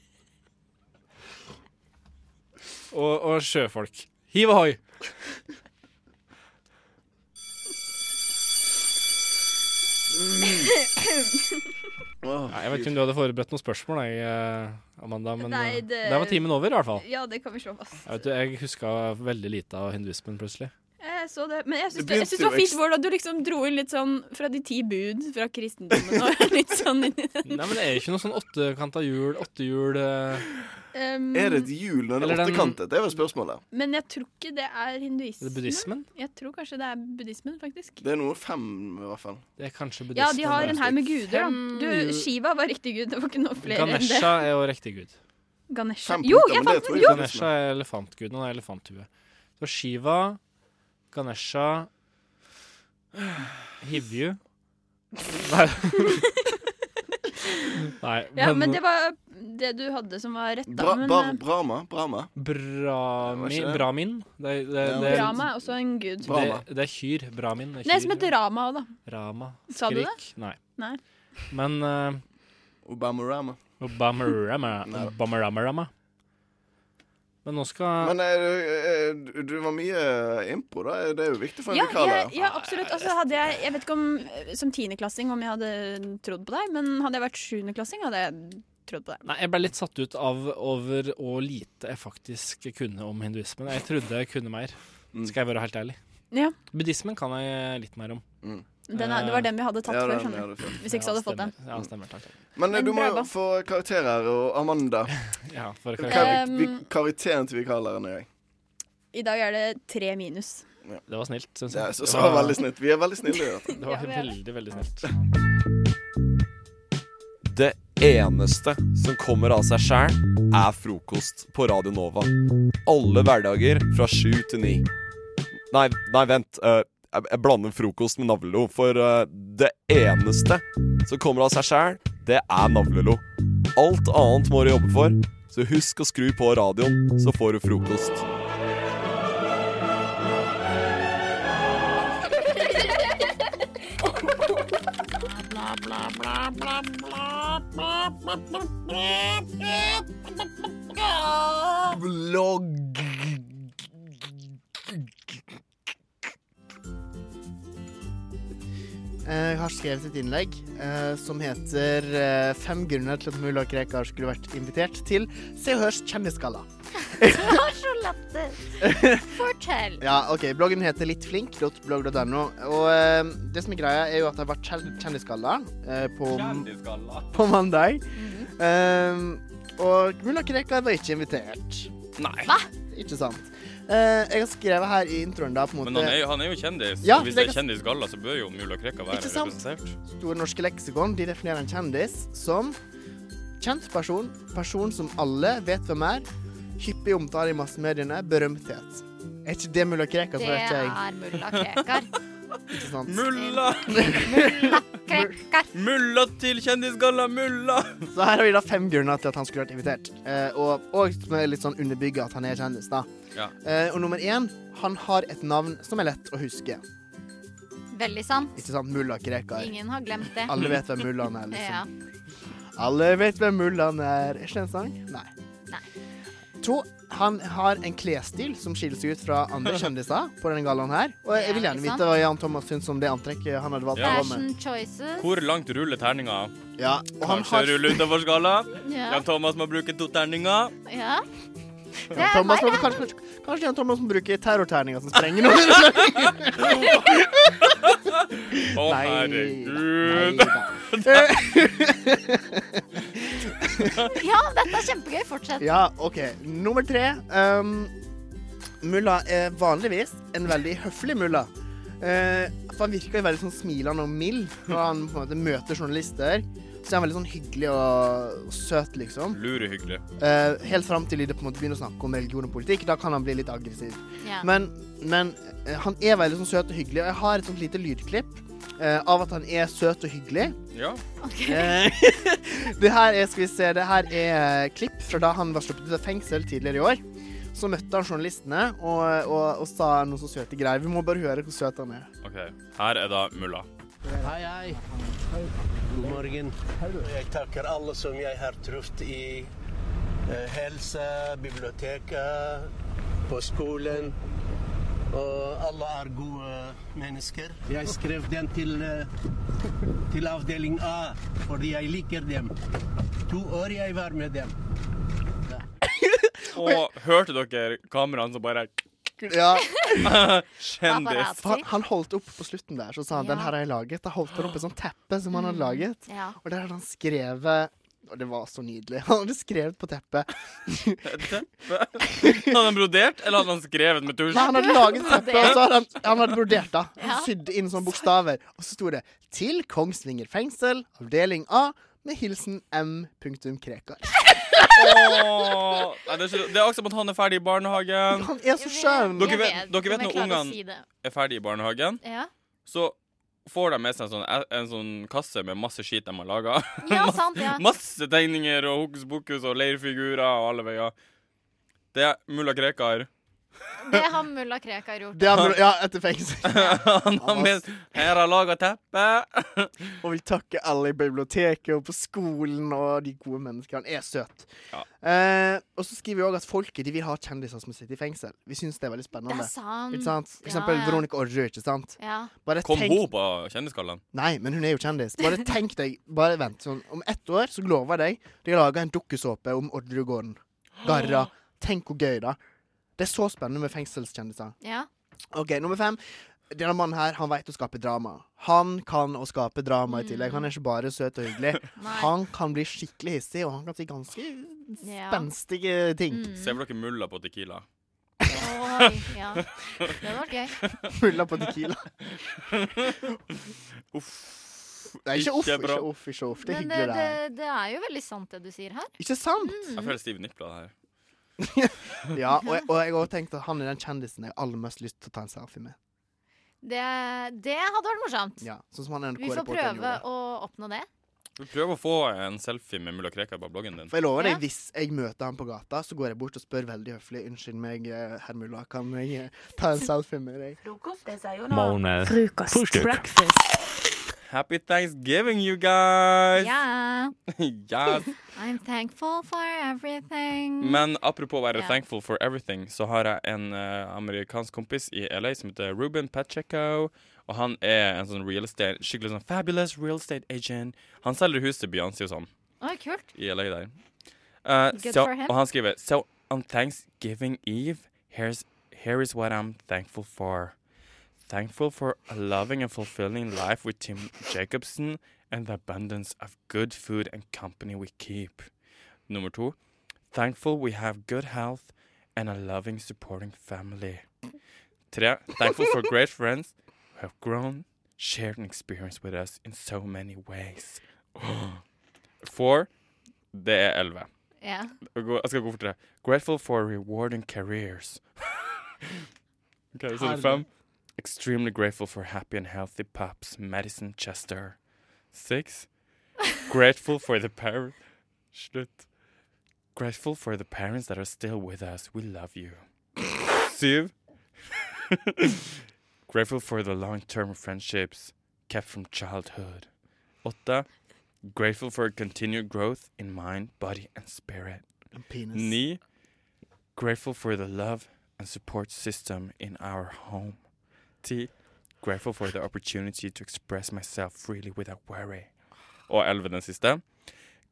F: Og, og sjøfolk. Hiv ohoi!
G: Åh,
F: Nei, Jeg vet ikke om du hadde forberedt noen spørsmål, jeg, eh, Amanda, men
H: Nei,
F: eh,
H: det-
F: der var timen over, i hvert fall.
H: Ja, det kan vi slå fast.
F: Jeg, vet, du, jeg huska veldig lite av hinduismen, plutselig.
H: Jeg så det, men jeg syns
G: Det
H: det, jeg
G: begynte
H: synes det var
G: jo
H: fint, Bård, at du liksom dro inn litt sånn fra de ti bud fra kristendommen og litt sånn inn i
F: Nei, men det er ikke noe sånn åttekanta hjul, åttehjul eh,
H: Um,
G: Er det et hjul når det
F: Eller
G: er
F: den-
G: åttekantet? Det var spørsmålet.
H: Men jeg tror ikke det er
F: Er
H: hinduisme.
F: det buddhismen?
H: Jeg tror kanskje det er buddhismen, faktisk.
G: Det er noe fem, i hvert fall.
F: Det er kanskje
H: Ja, de
F: buddhismen.
H: har en haug med guder, da.
F: Fem
H: Du,
F: ju-
H: Shiva var riktig gud, det var ikke noe flere enn det.
F: Ganesha er jo riktig gud.
H: Ganesha.
G: Fem
H: Jo,
G: punkter,
H: jeg
G: men det
H: fant
G: tror
H: den!
G: jeg
H: Jo!
G: ikke.
F: Ganesha er elefantguden. Han har elefanthue. Så Shiva, Ganesha Hivju Nei. Nei,
H: Ja, men det var det du hadde som var rett, da.
G: Bra,
H: Men
G: bar,
H: eh,
G: Brahma. Brahma. Var
F: Brahmin,
G: ikke det?
F: Brahmin det, det,
H: eh,
G: Ja.
F: det,
H: Brahma er også en gud.
G: Bra.
F: det,
G: Brahma.
F: det er kyr. Brahmin. er
H: Det er som
F: kyr.
H: heter Rama òg, da.
F: Rama.
H: Sa du det?
F: Skrik? Nei.
H: Nei.
F: Men uh,
G: Obamarama. Nei.
F: Bamarama Men nå skal
G: Men eh, du, eh, du var mye impro, da. Det er jo viktig for en
H: Ja,
G: vikar.
H: jeg,
G: det.
H: ja, absolutt. Altså, hadde jeg, jeg vet ikke om eh, som tiendeklassing om jeg hadde trodd på deg, men hadde jeg vært sjuendeklassing, hadde jeg trodd på deg.
F: Nei, jeg ble litt satt ut av over hvor lite jeg faktisk kunne om hinduismen. Jeg trodde jeg kunne mer,
G: Mm.
F: skal jeg være helt ærlig.
H: Ja.
F: Buddhismen kan jeg litt mer om.
H: Den er, det var den vi hadde tatt
G: Mm. Ja,
H: før,
G: den
H: skjønner du.
G: gjør det fint.
H: Hvis ikke så hadde
F: Ja,
H: jeg fått den.
F: stemmer. Ja, stemmer. Takk. takk.
G: Men eh,
H: Men
G: du må
H: Brahma.
G: jo få karakterer. Og Amanda.
F: Ja, for
G: Kar
F: karakter.
H: Um,
G: vi- Karakteren til vikarlæreren er jeg.
H: I dag er det tre minus.
F: Det var snilt, syns
G: Det
F: jeg.
G: er så, så veldig snilt. Vi er veldig snille. i dette.
F: Det var
H: Ja, vi er
F: veldig, veldig snilt.
A: Det eneste som kommer av seg sjæl, er frokost på Radio Nova. Alle hverdager fra sju til ni. Nei, nei, vent. eh, jeg, jeg blander frokost med navlelo, for eh, det eneste som kommer av seg sjæl, det er navlelo. Alt annet må du jobbe for, så husk å skru på radioen, så får du frokost.
G: Blogg.
J: Eh, Jeg har skrevet et innlegg eh, som heter eh, 'Fem grunner til at mulla Krekar skulle vært invitert til Se og Hørs kjendisgalla'.
D: Charlotte, fortell.
J: Ja, ok, Bloggen heter littflink.blogg.no. Og eh, det som er greia, er jo at det har vært kjel- kjendisgalla eh, på, på mandag. Eh, og mulla Krekar var ikke invitert.
K: Nei.
J: Ikke sant. Eh, jeg har skrevet her i introen, da, på en måte
K: Men han er, jo- han er jo kjendis.
J: Ja,
K: og hvis
J: det
K: det er kjendis galla, så bør jo Mulla Krekka være
J: Ikke sant?
K: representert.
J: Store norske leksikon de definerer en kjendis som kjent person, person som alle vet hvem er, hyppig omtale i massemediene, berømthet. Er ikke det mulla Krekar,
D: Det
J: spør ikke jeg.
D: er mulla Krekar.
J: Ikke sant?
K: Mulla!
D: Krekar.
K: Mulla til kjendisgalla, mulla!
J: Så her har vi da fem grunner til at han skulle vært invitert. Eh, og, og som er litt sånn underbygget at han er kjendis, da.
K: Ja.
J: Eh, og nummer én, han har et navn som er lett å huske.
D: Veldig sant.
J: Ikke sant? Mulla Krekar.
D: Ingen har glemt det.
J: Alle vet hvem mullaen er, liksom.
D: Ja.
J: Alle vet hvem Mullan er. Er ikke det en sang? Nei.
D: Nei.
J: To, han har en klesstil som skiller seg ut fra andre kjendiser på denne gallaen her. Og jeg vil gjerne
D: Det er ikke
J: vite hva Jan Thomas syns om det antrekket han hadde valgt.
K: Ja.
J: å gå med.
D: Fashion choices.
K: Hvor langt ruller terninga?
J: Ja, og han
K: Kanskje
J: har
K: rulle utenfor skala?
D: Ja.
K: Jan Thomas må bruke to terninger.
D: ja. Det
J: Jan
D: er
J: Thomas,
D: meg,
J: må- kanskje, kanskje Jan Thomas må bruke terrorterninger som sprenger noen.
K: Å, herregud.
J: Eh,
D: Ja, dette er kjempegøy. Fortsett.
J: Ja, OK. Nummer tre. Um, mulla er vanligvis en veldig høflig mulla. Eh, for han virker jo veldig sånn smilende og mild når han på en måte møter journalister. Så er han veldig sånn hyggelig og, og søt, liksom.
K: Lurehyggelig.
J: Eh, helt fram til de på en måte begynner å snakke om religion og politikk. Da kan han bli litt aggressiv.
K: Ja.
J: Men, men eh, han er veldig sånn søt og hyggelig, og jeg har et sånt lite lydklipp eh, av at han er søt og hyggelig.
K: Ja.
J: Eh, det her er, skal vi se, det her er eh, klipp fra da han var sluppet ut av fengsel tidligere i år. Så møtte han journalistene og, og, og sa noen så søte greier. Vi må bare høre hvor søt han er.
K: OK. Her er da mulla.
L: Hei, hei. God morgen. Jeg takker alle som jeg har truffet i eh, helse, biblioteket, på skolen. Og alle er gode mennesker. Jeg skrev den til, eh, til avdeling A, fordi jeg liker dem. To år jeg var med dem.
K: Og hørte dere kameraene som bare
J: Ja.
K: Kjendis.
J: For Han, han holdt opp på slutten der, så sa han den her har jeg laget. Da holdt han opp et sånt teppe som han hadde laget,
D: Ja.
J: og der hadde han skrevet og det var så nydelig. Han hadde skrevet på teppet.
K: Hadde han brodert, eller hadde han skrevet med tusj?
J: Nei, han hadde laget teppet, og så hadde han, han hadde brodert, da. Han sydde inn sånne bokstaver. Og så sto det 'Til Kongsvinger fengsel, avdeling A', med hilsen M. punktum Krekar.
K: Åh, Nei, det, er ikke, det er også som at han er ferdig i barnehagen.
J: Han er så skjønn.
K: Dere
M: Jeg
K: vet,
M: vet,
K: dere vet
M: men jeg
K: når
M: klarer å
K: ungene
M: si det.
K: er ferdig i barnehagen,
M: Ja.
K: så får de med seg en sånn, en sånn kasse med masse skit de har laga.
M: Ja, sant, ja.
K: Masse tegninger og hokus pokus og leirfigurer og alle veier. Det er mulla Krekar.
M: Det har mulla Krekar gjort.
J: Det han, ja, etter fengsel.
K: Han har med Her har laga teppe.
J: Og vil takke alle i biblioteket og på skolen og de gode menneskene. Han er søt. Eh, og så skriver vi òg at folket de vil ha kjendiser som sitter i fengsel. Vi syns det er veldig spennende.
M: Det er sant.
J: Ikke sant? For
M: Ja,
J: eksempel
M: ja.
J: Veronica Orrud, ikke sant?
M: Ja.
J: Bare
K: Kom
J: tenk-
K: hun på Kjendisgallaen?
J: Nei, men hun er jo kjendis. Bare tenk deg, bare vent. Sånn, om ett år så lover jeg deg de har laga en dukkusåpe om Orderudgården. Garra. Tenk hvor gøy, da. Det er så spennende med fengselskjendiser.
M: Ja.
J: OK, nummer fem. Denne mannen her, han vet å skape drama. Han kan å skape drama i tillegg. Han er ikke bare søt og hyggelig. han kan bli skikkelig hissig, og han kan si ganske
M: Ja. Mm.
J: spenstige ting.
K: Ser dere mulla på Tequila?
M: Oi, ja. Det hadde vært gøy.
J: Mulla på Tequila.
K: uff.
J: Nei, ikke uff,
K: bra.
J: ikke uff, ikke uff. Det er
M: Men
J: hyggelig,
M: det, Mm. det,
J: det her.
M: det er jo veldig sant, det du sier her.
J: Ikke sant?
K: Jeg føler stiv nipler her.
J: Ja, og, jeg- og jeg har også tenkt at han er den kjendisen jeg har aller mest lyst til å ta en selfie med.
M: Det, det hadde vært morsomt.
J: Ja, sånn som han
M: Vi får
J: NRK-reporteren
M: prøve
J: gjorde.
M: å oppnå det.
K: Vi prøver å få en selfie med mulla Krekar på bloggen din.
J: For jeg lover deg, hvis jeg møter han på gata, så går jeg bort og spør veldig høflig Unnskyld meg, eh, herr mulla, kan jeg eh, ta en selfie med deg?
K: Morgen.
E: Frokost.
K: Frühstück.
E: Breakfast.
K: Happy Thanksgiving, you guys!
M: Yeah.
K: yes.
M: I'm thankful for everything.
K: Men apropos å være
M: Mm. Ja.
K: thankful for everything, så har jeg en eh, amerikansk kompis i LA som heter Ruben Pacheco. Og han er en sånn real estate, skikkelig sånn fabulous real estate agent. Han selger hus til Beyoncé og sånn.
M: Oi, kult.
K: I LA der. Eh,
M: Good
K: so,
M: for him.
K: og han skriver So on Thanksgiving Eve, here's, here is what I'm thankful for. Thankful for a loving and fulfilling life with Tim Jacobson and the abundance of good food and company we keep. Nummer to. Thankful we have good health and a loving, supporting family. Tre. Thankful for great friends who have grown, shared, and experienced with us in so many ways. Four. Det er elleve.
M: Ja.
K: Jeg går- jeg skal gå fortere. Grateful for rewarding careers. ok, så er det fem. Extremely grateful for happy and healthy pups, Madison Chester. Six. Grateful for the parents. Slutt. Grateful for the parents that are still with us. We love you. Syv. Grateful for the long-term friendships kept from childhood. Åtte. Grateful for continued growth in mind, body and spirit.
J: And penis.
K: Ni. Grateful for the love and support system in our home. Ti. Grateful for the opportunity to express myself freely without worry. Og elleve den siste.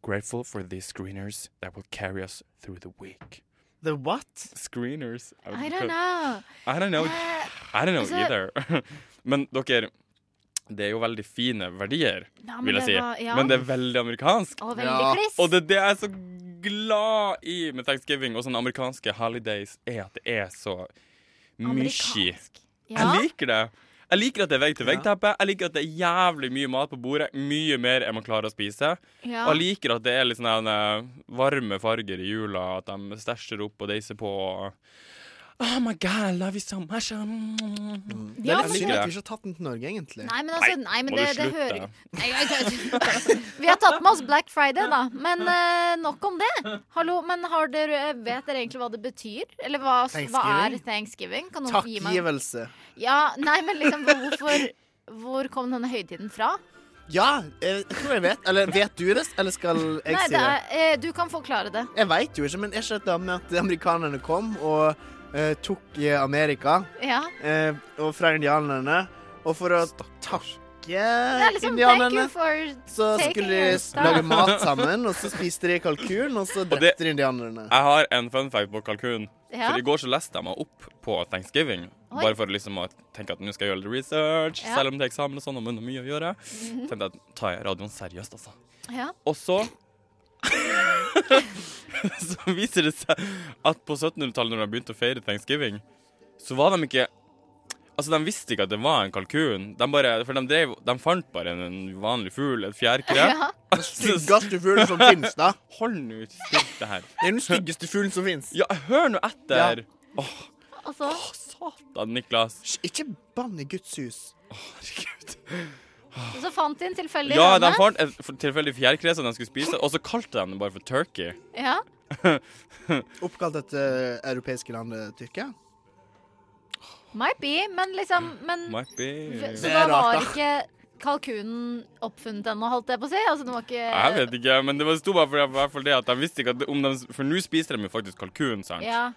K: Grateful for these screeners that will carry us through the week.
J: The what?
K: Screeners.
M: I don't know.
K: I don't know.
M: Eh,
K: I don't know
M: altså-
K: either. Men dere, det er jo veldig fine verdier,
M: Ja, men
K: vil jeg
M: det
K: si.
M: var- ja.
K: Men det er veldig amerikansk.
M: Og veldig Ja. kliss.
K: Og det er det jeg er så glad i med thanksgiving og sånne amerikanske holidays, er at det er så Mushi.
M: Ja.
K: Jeg liker det. Jeg liker at det er vegg-til-vegg-teppe. Jeg liker at det er jævlig mye mat på bordet. Mye mer enn man klarer å spise.
M: Ja.
K: Og jeg liker at det er litt sånn her, eh, varme farger i jula, at de stæsjer opp og deiser på. Oh my god, I love you so much. Mm,
J: Det er
K: Ja,
J: litt
K: men
J: synd
K: det-
J: at vi ikke har tatt den til Norge, egentlig.
M: Nei, men altså, nei, men
K: må
M: det,
K: du
M: det
K: slutte?
M: hører nei, jeg, jeg, Vi har tatt med oss Black Friday, da. Men eh, nok om det. Hallo, men har dere, vet dere egentlig hva det betyr? Eller hva, hva er thanksgiving?
J: Thanksgiving?
M: Kan noen gi meg
J: Takkgivelse.
M: Ja, nei, men liksom hvorfor Hvor kom denne høytiden fra?
J: Ja, eh, jeg tror jeg vet. Eller vet du det, eller skal jeg
M: nei,
J: si det?
M: er, eh, du kan forklare det.
J: Jeg veit jo ikke, men er ikke dette med at amerikanerne kom og eh, tok eh, Amerika
M: Ja.
J: eh, og fra indianerne, og for å takke
M: Det er liksom thank you
J: indianerne
M: for
J: så
M: taking
J: skulle de
M: our
J: s-
M: stuff.
J: lage mat sammen, og så spiste de kalkun, og så drepte de indianerne.
K: Jeg har en fun fact på kalkun.
J: Ja.
K: For I går så leste jeg meg opp på thanksgiving.
J: Oi.
K: Bare for liksom å tenke at nå skal jeg gjøre litt research,
M: Ja.
K: selv om det er eksamen og sånn, og man har mye å gjøre.
M: Mhm.
K: Tenkte jeg, tar jeg radioen seriøst, altså.
M: Ja.
K: Og så Så viser det seg at på 1700-tallet, når de begynte å feire thanksgiving, så var de ikke Altså, De visste ikke at det var en kalkun. De bare, for de, drev, de fant bare en, en vanlig fugl, et fjærkre.
J: Ja. Den styggeste fuglen som finnes, da.
K: Hold nå ikke stilt det her.
J: Det er den styggeste fuglen som fins.
K: Ja, hør nå etter!
M: Altså,
K: Da, Niklas.
J: Ikke bann i Guds hus.
M: Så fant de en tilfeldig
K: Ja, de
M: rane.
K: fant et f- tilfeldig fjærkre som de skulle spise, og så kalte de den bare for turkey.
M: Ja.
J: Oppkalt etter europeiske landet Tyrkia?
M: Might be, men liksom men,
K: Might be.
M: Så da var ikke kalkunen oppfunnet ennå, holdt jeg på å si? Altså, den var ikke
K: Jeg vet ikke, men det var- sto bare for, i hvert fall det at de visste ikke at det- om de For nå spiser de jo faktisk kalkun, sant?
M: Ja.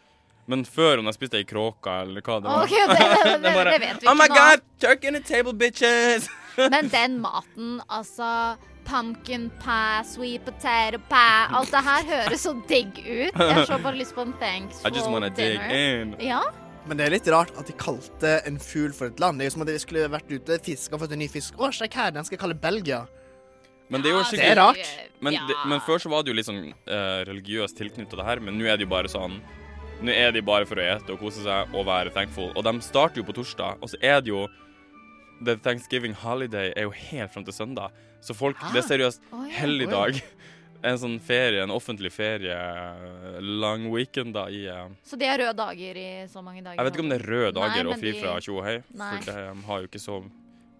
K: Men før om de spiste ei kråke eller hva det var.
M: OK, det, det,
K: De
M: det,
K: bare,
M: det vet vi ikke
K: Oh my
M: nå.
K: god, turkey on the table, bitches!
M: Men den maten, altså Pumpkin pie, sweet potato pie Alt det her høres så digg ut. Jeg har så bare lyst på en thanksful
J: I just wanna dig
M: dinner.
J: in.
M: Ja?
J: Men det er litt rart at de kalte en fugl for et land. Det er jo som at de skulle vært ute, fiska og fått en ny fisk. Å, sjekk her, den skal jeg kalle Belgia.
K: Men det er jo
J: Ja, det
K: skikkelig
J: er rart.
K: Men, det, men før så var det jo litt sånn eh, religiøst tilknyttet det her, men nå er det jo bare sånn Nå er de bare for å ete og kose seg og være thankful. Og de starter jo på torsdag, og så er det jo The Thanksgiving holiday er jo helt fram til søndag. Så folk Det
J: Ah.
K: er seriøst
M: Oi.
K: helligdag.
M: Oi.
K: En sånn ferie, en offentlig ferie, lang weekend da i eh,
M: Så det er røde dager i så mange dager.
K: Jeg vet ikke om det er røde dager
M: Nei,
K: og
M: men
K: fri
M: de-
K: fra tjo og hei,
M: Nei.
K: for de har jo ikke så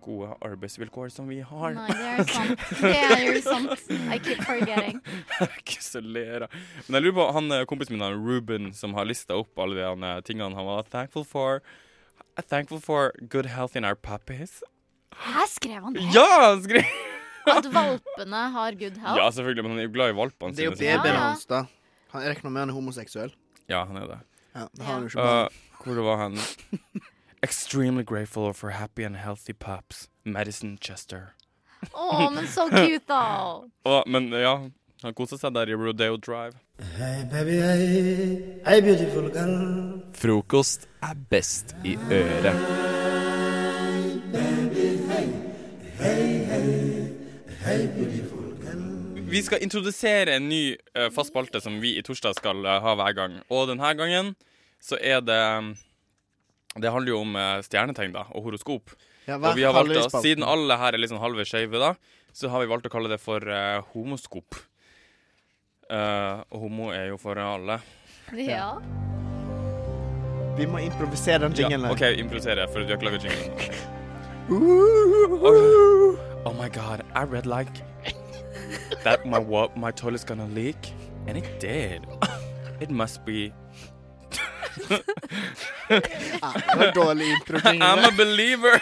K: gode arbeidsvilkår som vi har.
M: Nei, det er sant. Det er jo sant. I keep forgetting.
K: ikke så lera. Men jeg lurer på han eh, kompisen min, han Ruben, som har lista opp alle de han, eh, tingene han var thankful for. I'm Thankful for good health in our puppies.
M: Her skrev han det.
K: Ja! Han skrev
M: At valpene har good health.
K: Ja, selvfølgelig, men han er jo glad i valpene
J: Det er jo
K: sine, så-
J: babyen
M: Ja, ja.
J: hans, da. Han jeg regner med han er homoseksuell.
K: Ja, han er det.
J: Ja, det har han jo ikke
K: Eh,
J: barn.
K: hvor det var han? Extremely grateful for happy and healthy pups. Madison Chester.
M: Å, men så cute, da.
K: Og, men ja, han kosa seg der i Rodeo Drive.
N: Hey baby, hey, hey beautiful girl.
A: Frokost er best i øret.
K: Vi skal introdusere en ny eh, fast spalte som vi i torsdag skal eh, ha hver gang. Og denne gangen så er det Det handler jo om eh, stjernetegn da, og horoskop.
J: Ja, hva
K: og vi har valgt,
J: kaller vi
K: å-
J: spalten?
K: Siden alle her er liksom halve skeive, da, så har vi valgt å kalle det for eh, homoskop. Eh, og homo er jo for alle.
M: Ja.
J: Vi må improvisere den jinglen.
K: Ja, OK, improvisere, for du har ikke laget jinglen. Oh my god, I read like that my wa- my toilet's gonna leak, and it did. It must be.
J: Ah, det var dårlig impro-ting,
K: I'm a
J: det.
K: believer.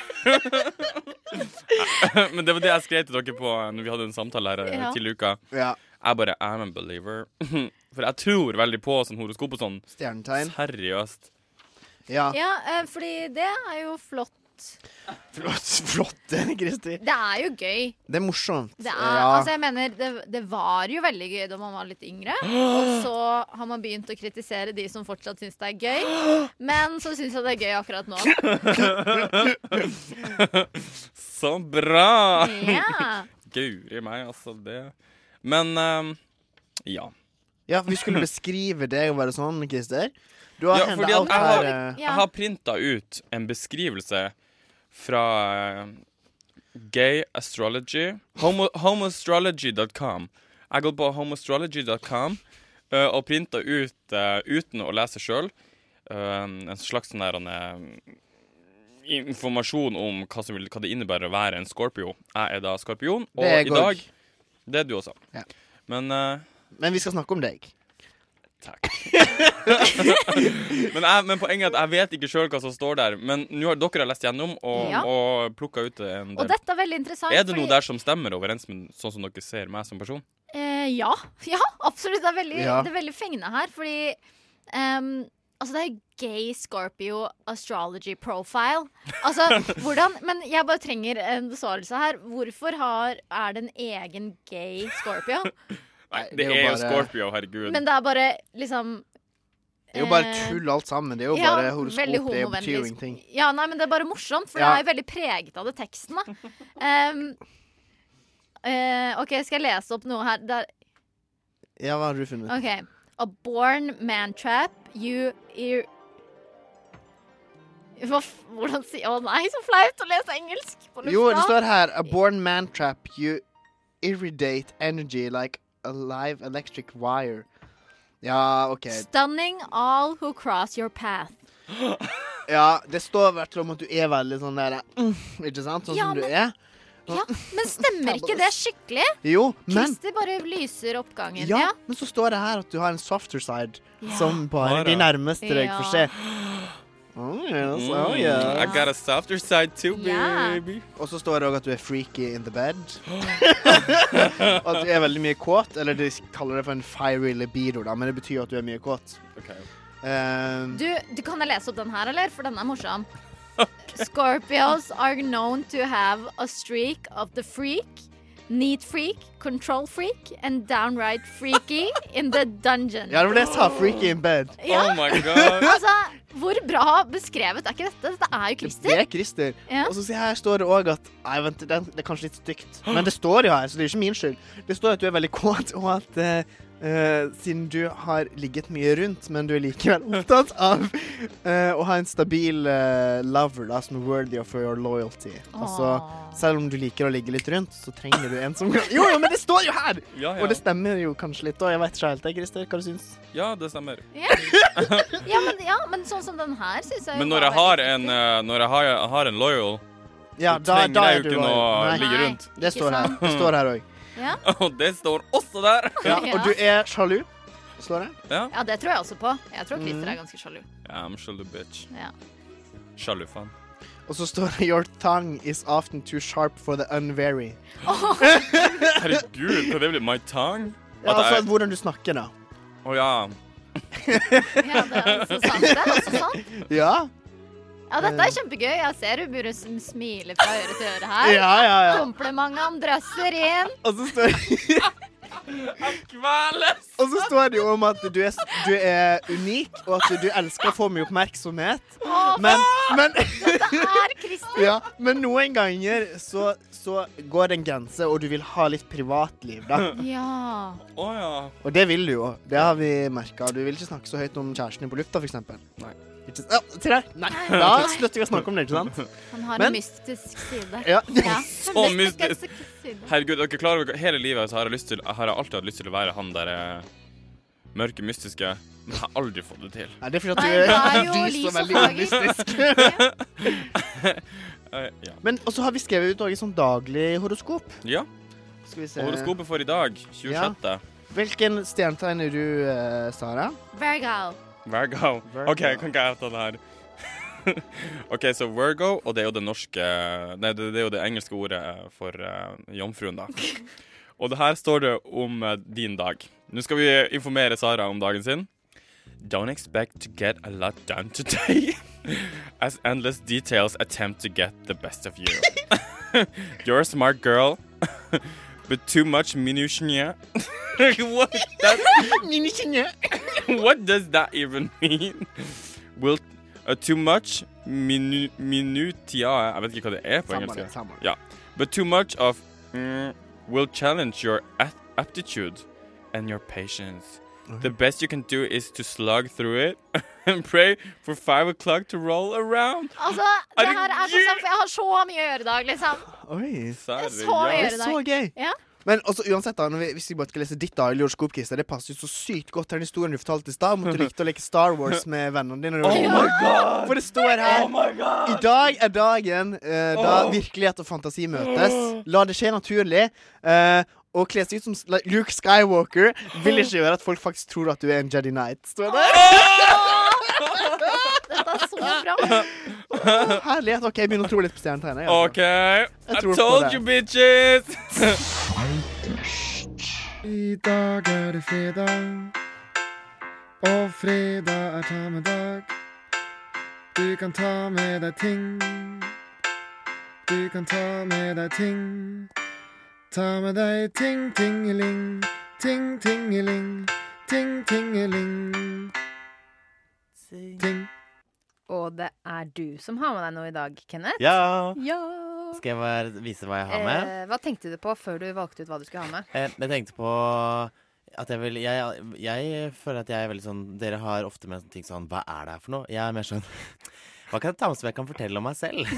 K: Men det var det jeg skrev til dere på eh, Når vi hadde en samtale her
J: Ja.
K: ja. tidligere i uka.
J: Ja.
K: Jeg bare I'm a believer. For jeg tror veldig på sånn horoskop og sånn.
J: Stjernetegn.
K: Seriøst.
J: Ja.
M: ja, eh, fordi det er jo flott.
J: Flott, flott, Kristi.
M: Det er jo gøy.
J: Det er morsomt.
M: Det, er,
J: Ja.
M: altså jeg mener, det, det var jo veldig gøy da man var litt yngre. Og så har man begynt å kritisere de som fortsatt syns det er gøy. Men så syns jeg det er gøy akkurat nå.
K: Så bra!
M: Ja.
K: Guri meg, altså. Det Men ehm, ja.
J: Ja, vi skulle beskrive deg og være sånn, Christer. Du har
K: ja,
J: hentet
K: fordi at jeg
J: alt her.
K: har,
J: eh,
K: jeg har printa ut en beskrivelse fra eh, Gay Astrology. Homo, homoastrology.com. Jeg går på homoastrology.com eh, og printa ut, eh, uten å lese sjøl, en slags sånn der eh, informasjon om hva, som, vil- hva det innebærer å være en scorpio. Jeg er da skorpion, og
J: Det er jeg
K: i dag
J: også.
K: Det er du også.
J: Ja.
K: Men eh,
J: Men vi skal snakke om deg.
K: men, jeg, men poenget er at jeg vet ikke sjøl hva som står der. Men nå har dere har lest gjennom og,
M: Ja.
K: og plukka ut en del.
M: Og dette er veldig interessant.
K: er det
M: fordi-
K: noe der som stemmer overens med sånn som dere ser meg som person?
M: Eh, ja. ja, absolutt. Det er veldig,
K: Ja.
M: det er veldig fengende her, fordi ehm, Altså, det er gay Scorpio astrology profile. Altså, hvordan Men jeg bare trenger en besvarelse her. Hvorfor har, er det en egen gay Scorpio?
K: Nei, det,
J: det er
K: er jo
J: jo bare-
K: Scorpio, herregud.
M: Men det er bare liksom
J: Det er jo bare
M: eh,
J: tull alt sammen. Det er jo
M: ja, veldig
J: bare horoskop. Det betyr jo
M: homovennlig.
J: ingenting.
M: Ja, nei, men det er bare morsomt, for
J: Ja.
M: det er jo veldig preget av det teksten, da. Ehm, eh, OK, skal jeg lese opp noe her? Det er
J: Ja, hva har du funnet?
M: Okay. A born man trap, you ir... Hva, f- hvordan sier Å nei, så flaut å lese engelsk på lufta.
J: Jo, det står her A born man trap You irradiate energy like a live electric wire. Ja, OK.
M: Stunning all who cross your path.
J: Ja, det står i hvert fall om at du er veldig sånn der mm, Ikke sant? Sånn
M: Ja,
J: som du
M: men-
J: er.
M: Ja, men stemmer ikke det skikkelig?
J: Jo, men
M: Christer bare lyser oppgangen.
J: ja, men så står det her at du har en softer side
M: Ja.
J: som bare
K: Bare.
J: de nærmeste deg
M: Ja.
J: får se. Oh, yes, oh, yes.
K: Mm, I got a softer side too,
M: Ja.
K: baby.
J: Og så står det òg at du er freaky in the bed. og at du er veldig mye kåt. Eller de kaller det for en fiery libido, da, men det betyr jo at du er mye kåt. Ehm,
M: Du, du kan jeg lese opp den her, eller? For den er morsom. Scorpios are known to have a streak of the freak, neat freak, control freak and downright freaky in the dungeon.
J: ja, det var det jeg sa. Freaky in bed.
M: Ja. Oh my altså, hvor bra beskrevet er ikke dette? Dette er jo
J: Det
M: Christer.
J: er Christer.
M: Ja.
J: Og så se her står det òg at Nei, vent, den, det er kanskje litt stygt. Men det står jo her, så det er ikke min skyld. Det står at du er veldig kåt, og at eh, eh, siden du har ligget mye rundt, men du er likevel opptatt av eh, å ha en stabil eh, lover da, som er worthy of your loyalty. Altså, selv om du liker å ligge litt rundt, så trenger du en som kan Jo, jo, men det står jo her!
K: Ja, ja.
J: Og det stemmer jo kanskje litt òg. Jeg vet ikke helt, jeg, Christer, hva du syns.
K: Ja, det stemmer.
M: Ja, men, ja, men sånn som den her syns jeg jo
K: Men når jeg
M: var-
K: har en, eh, når jeg har, jeg har en loyal,
J: Ja,
K: så
J: da-
K: trenger
J: da er
K: jeg jo
J: du
K: ikke
J: loyal.
K: noe å
J: Nei.
K: ligge
M: Nei,
K: rundt.
J: Det står her.
M: sant?
J: Det står her òg.
M: Ja.
K: Og det står også der!
J: Ja, og du er sjalu, står det.
K: Ja.
M: ja, det tror jeg også på. Jeg tror Christer
J: Mm.
M: er ganske sjalu.
K: I'm sjalu bitch.
M: Ja.
K: Sjalu faen.
J: Og så står det 'Your tongue is often too sharp for the unvary'.
K: Herregud, kan det bli my tongue?
J: Ja,
K: At
J: altså
K: jeg-
J: hvordan du snakker, da.
K: Å ja.
M: Så sant, det er også sant.
J: Ja.
M: Ja, dette er kjempegøy. Jeg ser du burde sm- smile fra øre til øre her.
J: Ja, ja, ja.
M: Komplimentene drøsser inn.
J: Og så står Og så står det jo om at du er, du er unik, og at du elsker å få mye oppmerksomhet.
M: Å,
J: Men, men
M: Dette er Christer.
J: ja, men noen ganger så, så går det en grense, og du vil ha litt privatliv, da.
M: Ja.
K: Å ja.
J: Og det vil du jo. Det har vi merka. Du vil ikke snakke så høyt om kjæresten din på lufta, f.eks. Nei. Ikke, ja, se der. Nei. Da slutter vi å snakke om det, ikke sant?
M: Han har en
J: Men-
M: mystisk side.
J: Ja.
K: Så
M: en
K: mystisk.
M: side.
K: Herregud, dere klarer dere Hele livet så har jeg lyst til Jeg har alltid hatt lyst til å være han der eh, mørke, mystiske, men jeg har aldri fått det til.
J: Nei, det er fordi at
M: Nei,
J: du er,
M: det er jo
J: du er
M: lys
J: så
M: og
J: veldig
M: farger.
K: Eh, ja.
J: Men og så har vi skrevet ut noe sånn daglig horoskop.
K: ja.
J: Skal vi se.
K: Horoskopet for i dag, 26.
J: Ja. Hvilken stjernetegn er du, eh, Sara?
M: Virgo.
K: Virgo.
J: Virgo.
K: OK, kan ikke jeg ta den her? OK, så Virgo, og det er jo det norske Nei, det, det er jo det engelske ordet for eh, jomfruen, da. Og det her står det om eh, din dag. Nå skal vi informere Sara om dagen sin. Don't expect to get a lot done today. As endless details attempt to get the best of you. You're a smart girl, but too much minutia. What? That's, what does that even mean? Will uh, too much minu minutia Jeg vet ikke hva det er på
J: Samme
K: engelsk.
J: det, samme
K: Ja. But too much of mm, will challenge your ap- aptitude and your patience. The best you can do is to slug through it and pray for five o'clock to roll around.
M: Altså, det her er så sant, for jeg har så mye å gjøre i dag, liksom.
J: Oi.
K: Sorry,
M: Så mye å gjøre
J: Det er
M: i dag.
J: så gøy.
M: Ja.
J: Men også, uansett, da, når vi, hvis vi bare skal lese ditt da, George Coopkiste, det passer jo så sykt godt til den historien du fortalte i stad om at du likte å leke Star Wars med vennene dine. da du
O: Oh
J: var liten.
O: my God!
J: For det står her
O: Oh my God!
J: I dag er dagen eh, da
O: Oh.
J: virkelighet og fantasi møtes. La det skje naturlig. eh, og kle seg ut som like, Luke Skywalker vil ikke gjøre at folk faktisk tror at du er en Jedi Knight. Står det
M: Dette er så bra.
J: der? Herlighet. OK, jeg begynner å tro litt på stjernetegnet. jeg, altså.
K: Ok, I
J: tror på
K: told
J: det.
K: you bitches!
O: I dag er det fredag, og fredag er ta med dag. Du kan ta med deg ting. Du kan ta med deg ting. Ta med deg ting, tingeling, ting, tingeling, ting, tingeling. Ting.
P: Og det er du som har med deg noe i dag, Kenneth.
Q: Ja.
P: ja.
Q: Skal jeg bare vise hva jeg har med?
P: Eh, hva tenkte du på før du valgte ut hva du skulle ha med?
Q: Eh, Jeg tenkte på at jeg vil jeg, jeg føler at jeg er veldig sånn Dere har ofte med ting sånn Hva er det her for noe? Jeg er mer sånn Hva kan jeg ta med som jeg kan fortelle om meg selv?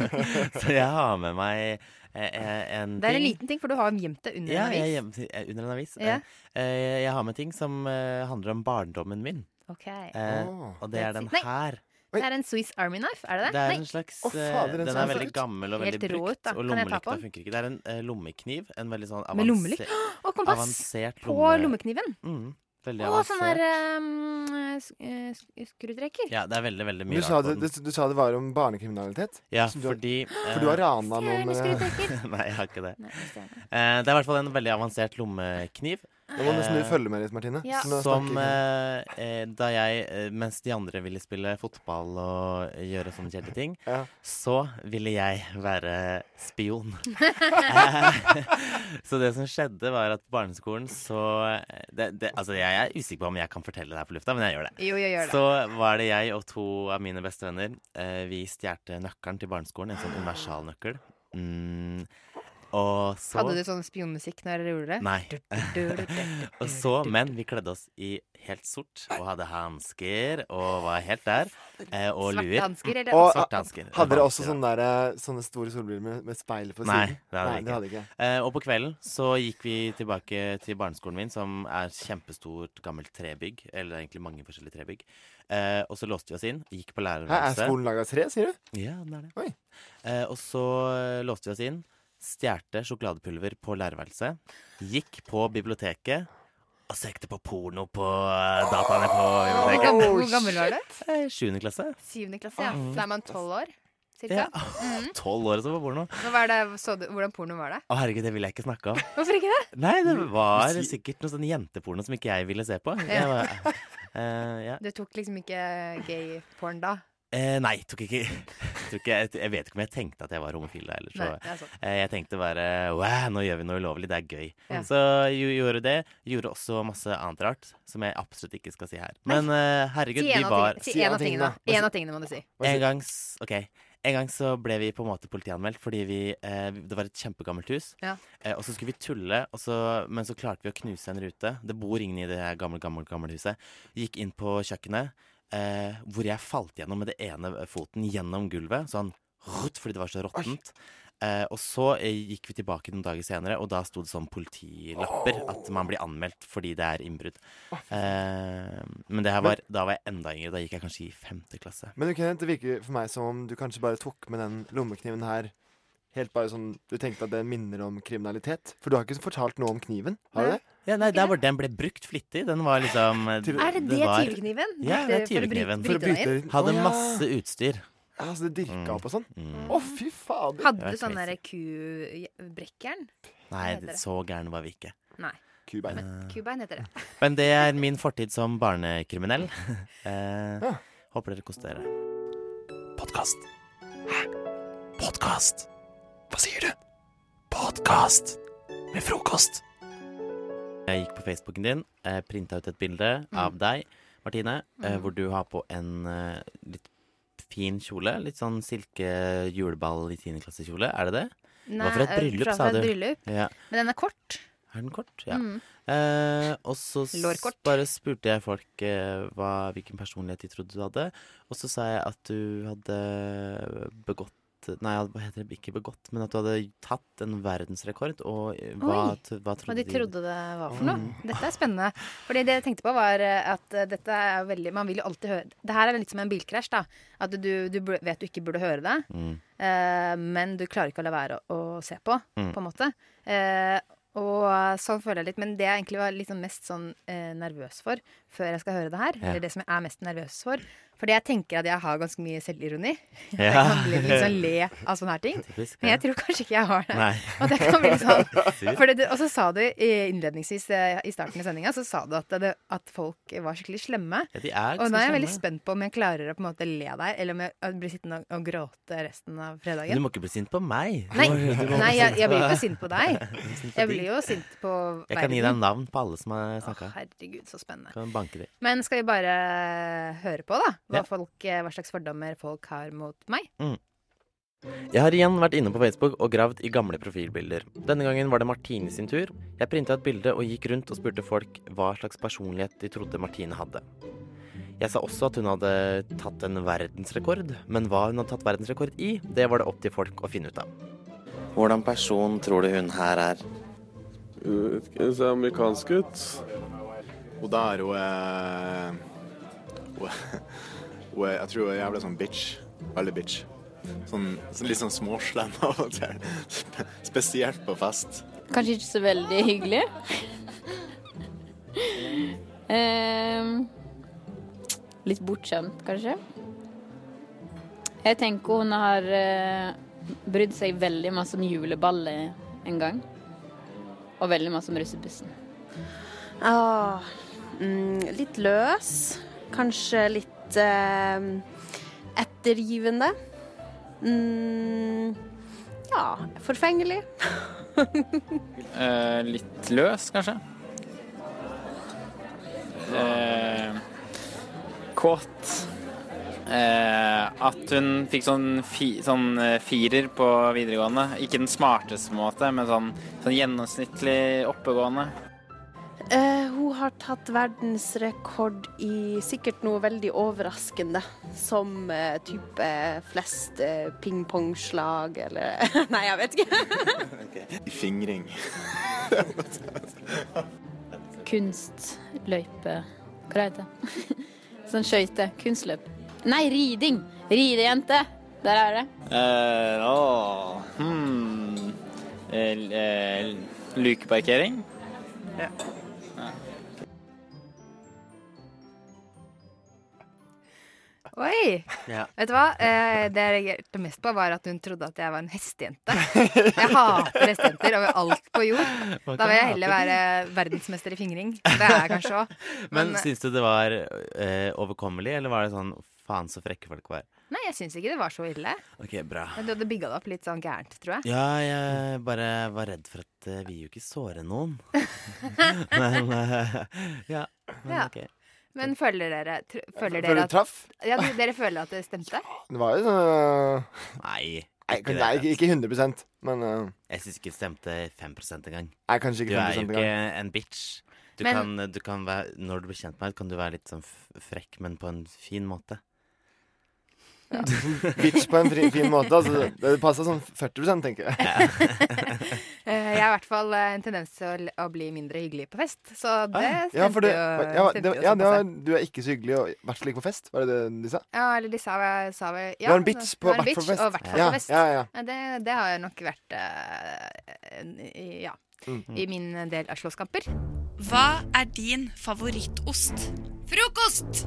Q: Så jeg har med meg eh, eh, en ting
P: Det er en liten ting, for du har gjemt det under
Q: ja,
P: en
Q: jeg
P: avis.
Q: gjem- eh, under en avis.
P: Ja.
Q: Eh, eh, Jeg har med ting som eh, handler om barndommen min.
P: Ok.
Q: Eh, Og det er den
P: Nei.
Q: her.
P: Det er en Swiss Army Knife, er det det?
Q: Det er
P: Nei.
Q: en slags eh, Den er veldig gammel og veldig
P: sånn Helt rå ut,
Q: brukt.
P: da.
Q: Og
P: Kan jeg ta på
Q: lommelykta
P: den?
Q: funker ikke. Det er en eh, lommekniv. En veldig sånn
P: Med
Q: avanser-
P: lommelykte? Og kompass
Q: avansert
P: på
Q: lomme-
P: lommekniven?
Q: Mm, veldig
P: Å,
Q: avansert.
P: sånn der eh, sk- eh, sk- skrudrekker.
Q: Ja, det er veldig, veldig
O: Du
Q: mye
O: sa,
Q: rart på
O: det,
Q: den.
O: du, du sa det var om barnekriminalitet?
Q: Ja,
O: Som du har-
Q: fordi eh,
O: For du har rana noen eh, med
Q: Nei, jeg har ikke det.
P: Nei, jeg ser det.
Q: Eh, det er i hvert fall en veldig avansert lommekniv.
O: Nå må nesten du
Q: eh,
O: følge med litt, Martine.
P: Ja.
O: Så nå
Q: Som
O: snakker
Q: eh, eh, da jeg, eh, mens de andre ville spille fotball og gjøre sånne kjedelige ting, så ville jeg være spion. Eh, så det som skjedde, var at på barneskolen så det, det, Altså, jeg er usikker på om jeg kan fortelle det her på lufta, men jeg gjør det.
P: Jo, jeg gjør det.
Q: Så var det jeg og to av mine bestevenner. Eh, vi stjal nøkkelen til barneskolen, en sånn universalnøkkel. Mm, og så
P: Hadde du sånn spionmusikk når dere gjorde det? Du, du, du, du, du.
Q: Nei. og så, men vi kledde oss i helt sort og hadde hansker og var helt der. Eh, og
P: Svarte
Q: luer.
P: hansker, eller-
O: Og,
Q: Svarte hansker.
O: Hadde dere også
Q: Hansker,
O: sånne, der, eh, sånne store solbriller med, med speil på siden?
Q: Nei, det hadde
O: Nei,
Q: vi
O: det
Q: ikke.
O: hadde ikke.
Q: Eh, og på kvelden så gikk vi tilbake til barneskolen min, som er kjempestort, gammelt trebygg. Eller egentlig mange forskjellige trebygg. Eh, og så låste vi oss inn. Gikk på
O: Her er
Q: lærerværelset.
O: skolen laget av tre, sier du?
Q: Ja, den er det. Eh, og så eh, låste vi oss inn. Stjerte sjokoladepulver på lærerværelset. Gikk på biblioteket. Og søkte på porno på eh, dataene på
P: Hvor
Q: biblioteket.
P: gammel, hvor gammel var du?
Q: Sjuende klasse.
P: Syvende klasse, ja.
Q: Mm.
P: Da er man tolv år, cirka.
Q: Ja.
P: Mhm.
Q: Tolv år og så på porno.
P: Men hva er det, så du, hvordan porno var det?
Q: Å herregud, det vil jeg ikke snakke om.
P: Hvorfor ikke det?
Q: Nei, det var
P: Si-
Q: sikkert noe sånn jenteporno som ikke jeg ville se på.
P: Ja.
Q: Jeg var, eh, ja.
P: Du tok liksom ikke gay porn da?
Q: Eh, nei, tok ikke, tror ikke jeg, jeg vet ikke om jeg tenkte at jeg var homofil da heller. Så
P: Nei, det er sant.
Q: eh, jeg tenkte bare wow, nå gjør vi noe ulovlig, det er gøy.
P: Ja.
Q: Så jo, gjorde det. Gjorde også masse annet rart som jeg absolutt ikke skal si her. Men eh, herregud,
P: si en
Q: vi
P: av
Q: var
P: tingene- si en av tingene. En av tingene må du si.
Q: en gang, s- ok. en gang så ble vi på en måte politianmeldt fordi vi, eh, det var et kjempegammelt hus.
P: Ja.
Q: Eh, og så skulle vi tulle, og så, men så klarte vi å knuse en rute. Det bor ingen i det her gamle, gamle, gamle huset. Gikk inn på kjøkkenet, eh, hvor jeg falt gjennom med det ene foten gjennom gulvet. Sånn rutt, fordi det var så råttent. Eh, og så eh, gikk vi tilbake noen dager senere, og da sto det sånn politilapper at man blir anmeldt fordi det er innbrudd. Eh, men det her var, da var jeg enda yngre. Da gikk jeg kanskje i femte klasse.
O: Men du, Kenneth, det virker for meg som om du kanskje bare tok med den lommekniven her Helt bare sånn Du tenkte at det minner om kriminalitet? For du har ikke fortalt noe om kniven? Har du det?
Q: Ja, nei, der hvor den ble brukt flittig. Den var liksom Er
P: Er det det tyvekniven?
Q: Ja, det er
P: For å bryte-
Q: tyvekniven.
P: bryte For å deg bryte- inn?
Q: Hadde
P: Å, ja.
Q: masse utstyr.
O: Ja, så det dirka opp og sånn?
Q: Mm.
O: Å, fy fader!
P: Hadde du sånn derre kubrekkeren?
Q: Nei,
P: heter
Q: det-
P: det?
Q: så gæren var vi ikke.
P: Nei.
O: Kubein.
P: Men kubein heter det.
Q: Men det er min fortid som barnekriminell. eh, Håper dere koser dere.
O: Podkast. Hæ? Podkast? Hva sier du? Podkast med frokost.
Q: Jeg gikk på Facebooken din, eh, printa ut et
P: Mm.
Q: bilde av deg, Martine, eh, hvor du har på en eh, litt fin kjole. Litt sånn silke juleball i tiende klasse-kjole. Er det det? det var for et
P: eh,
Q: bryllup,
P: fra-
Q: sa
P: fra et
Q: du.
P: bryllup.
Q: Ja.
P: Men den er kort.
Q: Er den kort? Ja.
P: Mm.
Q: Eh, og så s-
P: Lårkort.
Q: bare spurte jeg folk eh, hva, hvilken personlighet de trodde du hadde. Og så sa jeg at du hadde begått Nei, hva heter det? Ikke begått, men at du hadde tatt en verdensrekord. Og eh, hva,
P: Oi.
Q: t- hva trodde
P: Hva de trodde det var for noe.
Q: Mm.
P: Dette er spennende. Fordi det jeg tenkte på var eh, at eh, dette er veldig Man vil jo alltid høre Det her er litt som en bilkrasj, da. At du, du bur- vet du ikke burde høre det,
Q: Mm.
P: eh, men du klarer ikke å la være å, å se på,
Q: Mm.
P: på en måte. Eh, og sånn føler jeg litt. Men det jeg egentlig var litt sånn mest sånn eh, nervøs for før jeg skal høre det her,
Q: Ja.
P: eller det som jeg er mest nervøs for Fordi jeg tenker at jeg har ganske mye selvironi. Jeg
Q: Ja.
P: kan bli litt sånn le av sånne her ting.
Q: Typisk, ja.
P: Men jeg tror kanskje ikke jeg har det.
Q: Nei.
P: Og det kan bli sånn.
Q: Sykt.
P: For det, og så sa du eh, innledningsvis eh, i starten av sendinga så sa du at, det, at folk var skikkelig slemme.
Q: Ja, de er
P: og nå
Q: ganske
P: er jeg veldig
Q: slemme.
P: spent på om jeg klarer å på en måte le der, eller om jeg eh, blir sittende og, og gråte resten av
Q: Men
P: fredagen.
Q: du må ikke bli sint på meg. Du
P: Nei,
Q: må- du må
P: nei
Q: bli
P: jeg, jeg blir jo
Q: på-
P: ikke sint på deg.
Q: sint på de.
P: Jeg blir jo sint på verden.
Q: Jeg kan gi deg navn på alle som har snakka.
P: Herregud, så spennende.
Q: Kan banke de.
P: Men skal vi bare eh, høre på, da? Hva,
Q: Ja.
P: folk, eh, hva slags fordommer folk har mot meg?
Q: Mm. Jeg har igjen vært inne på Facebook og gravd i gamle profilbilder. Denne gangen var det Martine sin tur. Jeg printa et bilde og gikk rundt og spurte folk hva slags personlighet de trodde Martine hadde. Jeg sa også at hun hadde tatt en verdensrekord, men hva hun hadde tatt verdensrekord i, det var det opp til folk å finne ut av. Hvordan person tror du hun her er?
G: Hun ser amerikansk ut. Og da er hun eh, hun- hun er- Jeg tror hun er jævlig sånn bitch. Veldig bitch. Sånn, så litt sånn småslem av og til. Spe- Spesielt på fest.
H: Kanskje ikke så veldig hyggelig. Ehm, litt bortskjemt, kanskje. Jeg tenker hun har eh, brydd seg veldig masse om juleballet en gang. Og veldig masse om russebussen.
R: Ah, mm, litt løs. Kanskje litt eh, ettergivende. Mm, ja, forfengelig.
F: Eh, litt løs, kanskje. Eh, kåt. Eh, at hun fikk sånn, fi, sånn eh, firer på videregående. Ikke den smarteste, på en måte, men sånn, sånn gjennomsnittlig oppegående.
R: Eh, hun har tatt verdensrekord i sikkert noe veldig overraskende, som eh, type flest eh, pingpongslag eller Nei, jeg vet ikke.
G: I fingring.
H: Kunstløype Hva det heter det? sånn skøyte. Kunstløp. Nei, riding! Ridejente! Der er det.
F: Eh, åh, hmm. Eh, eh, lukeparkering? Ja.
P: Oi!
Q: Ja.
P: Vet du hva? Eh, det jeg reagerte mest på, var at hun trodde at jeg var en hestejente. Jeg hater hestejenter over alt på jord.
Q: Man
P: Da
Q: kan
P: vil jeg heller
Q: hate
P: være verdensmester i fingring. Det er jeg kanskje òg.
Q: Men, eh,
P: Men,
Q: synes syns du det var eh, overkommelig, eller var det sånn faen så frekke folk var?
P: eh, nei, jeg syns ikke det var så ille.
Q: OK, bra.
P: Men Du hadde bygga det opp litt sånn gærent, tror jeg.
Q: Ja, jeg bare var redd for at eh, vi jo ikke såre noen. men eh, ja, men
P: Ja.
Q: ok.
P: Men føler dere, tr føler
S: Føler
P: dere
S: du
P: at
S: traff?
P: Ja, du- dere føler at det stemte?
S: Det var jo sånn
O: eh,
Q: Nei.
S: Nei,
Q: ikke det.
S: nei, ikke- ikke 100 men eh,
Q: Jeg syns ikke det stemte 5 engang.
S: Nei, kanskje ikke
Q: Du er jo
S: 5%
Q: ikke
S: engang.
Q: en bitch. Du
P: Men-
Q: kan, du kan være, når du blir kjent med meg, kan du være litt sånn f- frekk, men på en fin måte.
S: bitch på en fri, fin måte. Altså, det passa sånn 40 tenker jeg.
P: Eh, Jeg har i hvert fall eh, en tendens til å, l- å bli mindre hyggelig på fest, så det stemte
S: Ah, Ja, for det,
P: jo.
S: ja,
P: stemte
S: det,
P: jo
S: ja, det var,
P: såpass.
S: du er ikke så hyggelig og i hvert fall ikke på fest, var det det de sa?
P: Ja, eller de sa, vel- sa vel
S: Du er en bitch på
P: du er en
S: hvert fall
P: bitch,
S: fest.
P: Og hvert fall
S: Ja,
P: på fest.
S: ja, ja.
P: Det, det har jo nok vært eh, en- i- Ja.
S: Mm.
P: I min del av slåsskamper.
D: Hva er din favorittost? Frokost!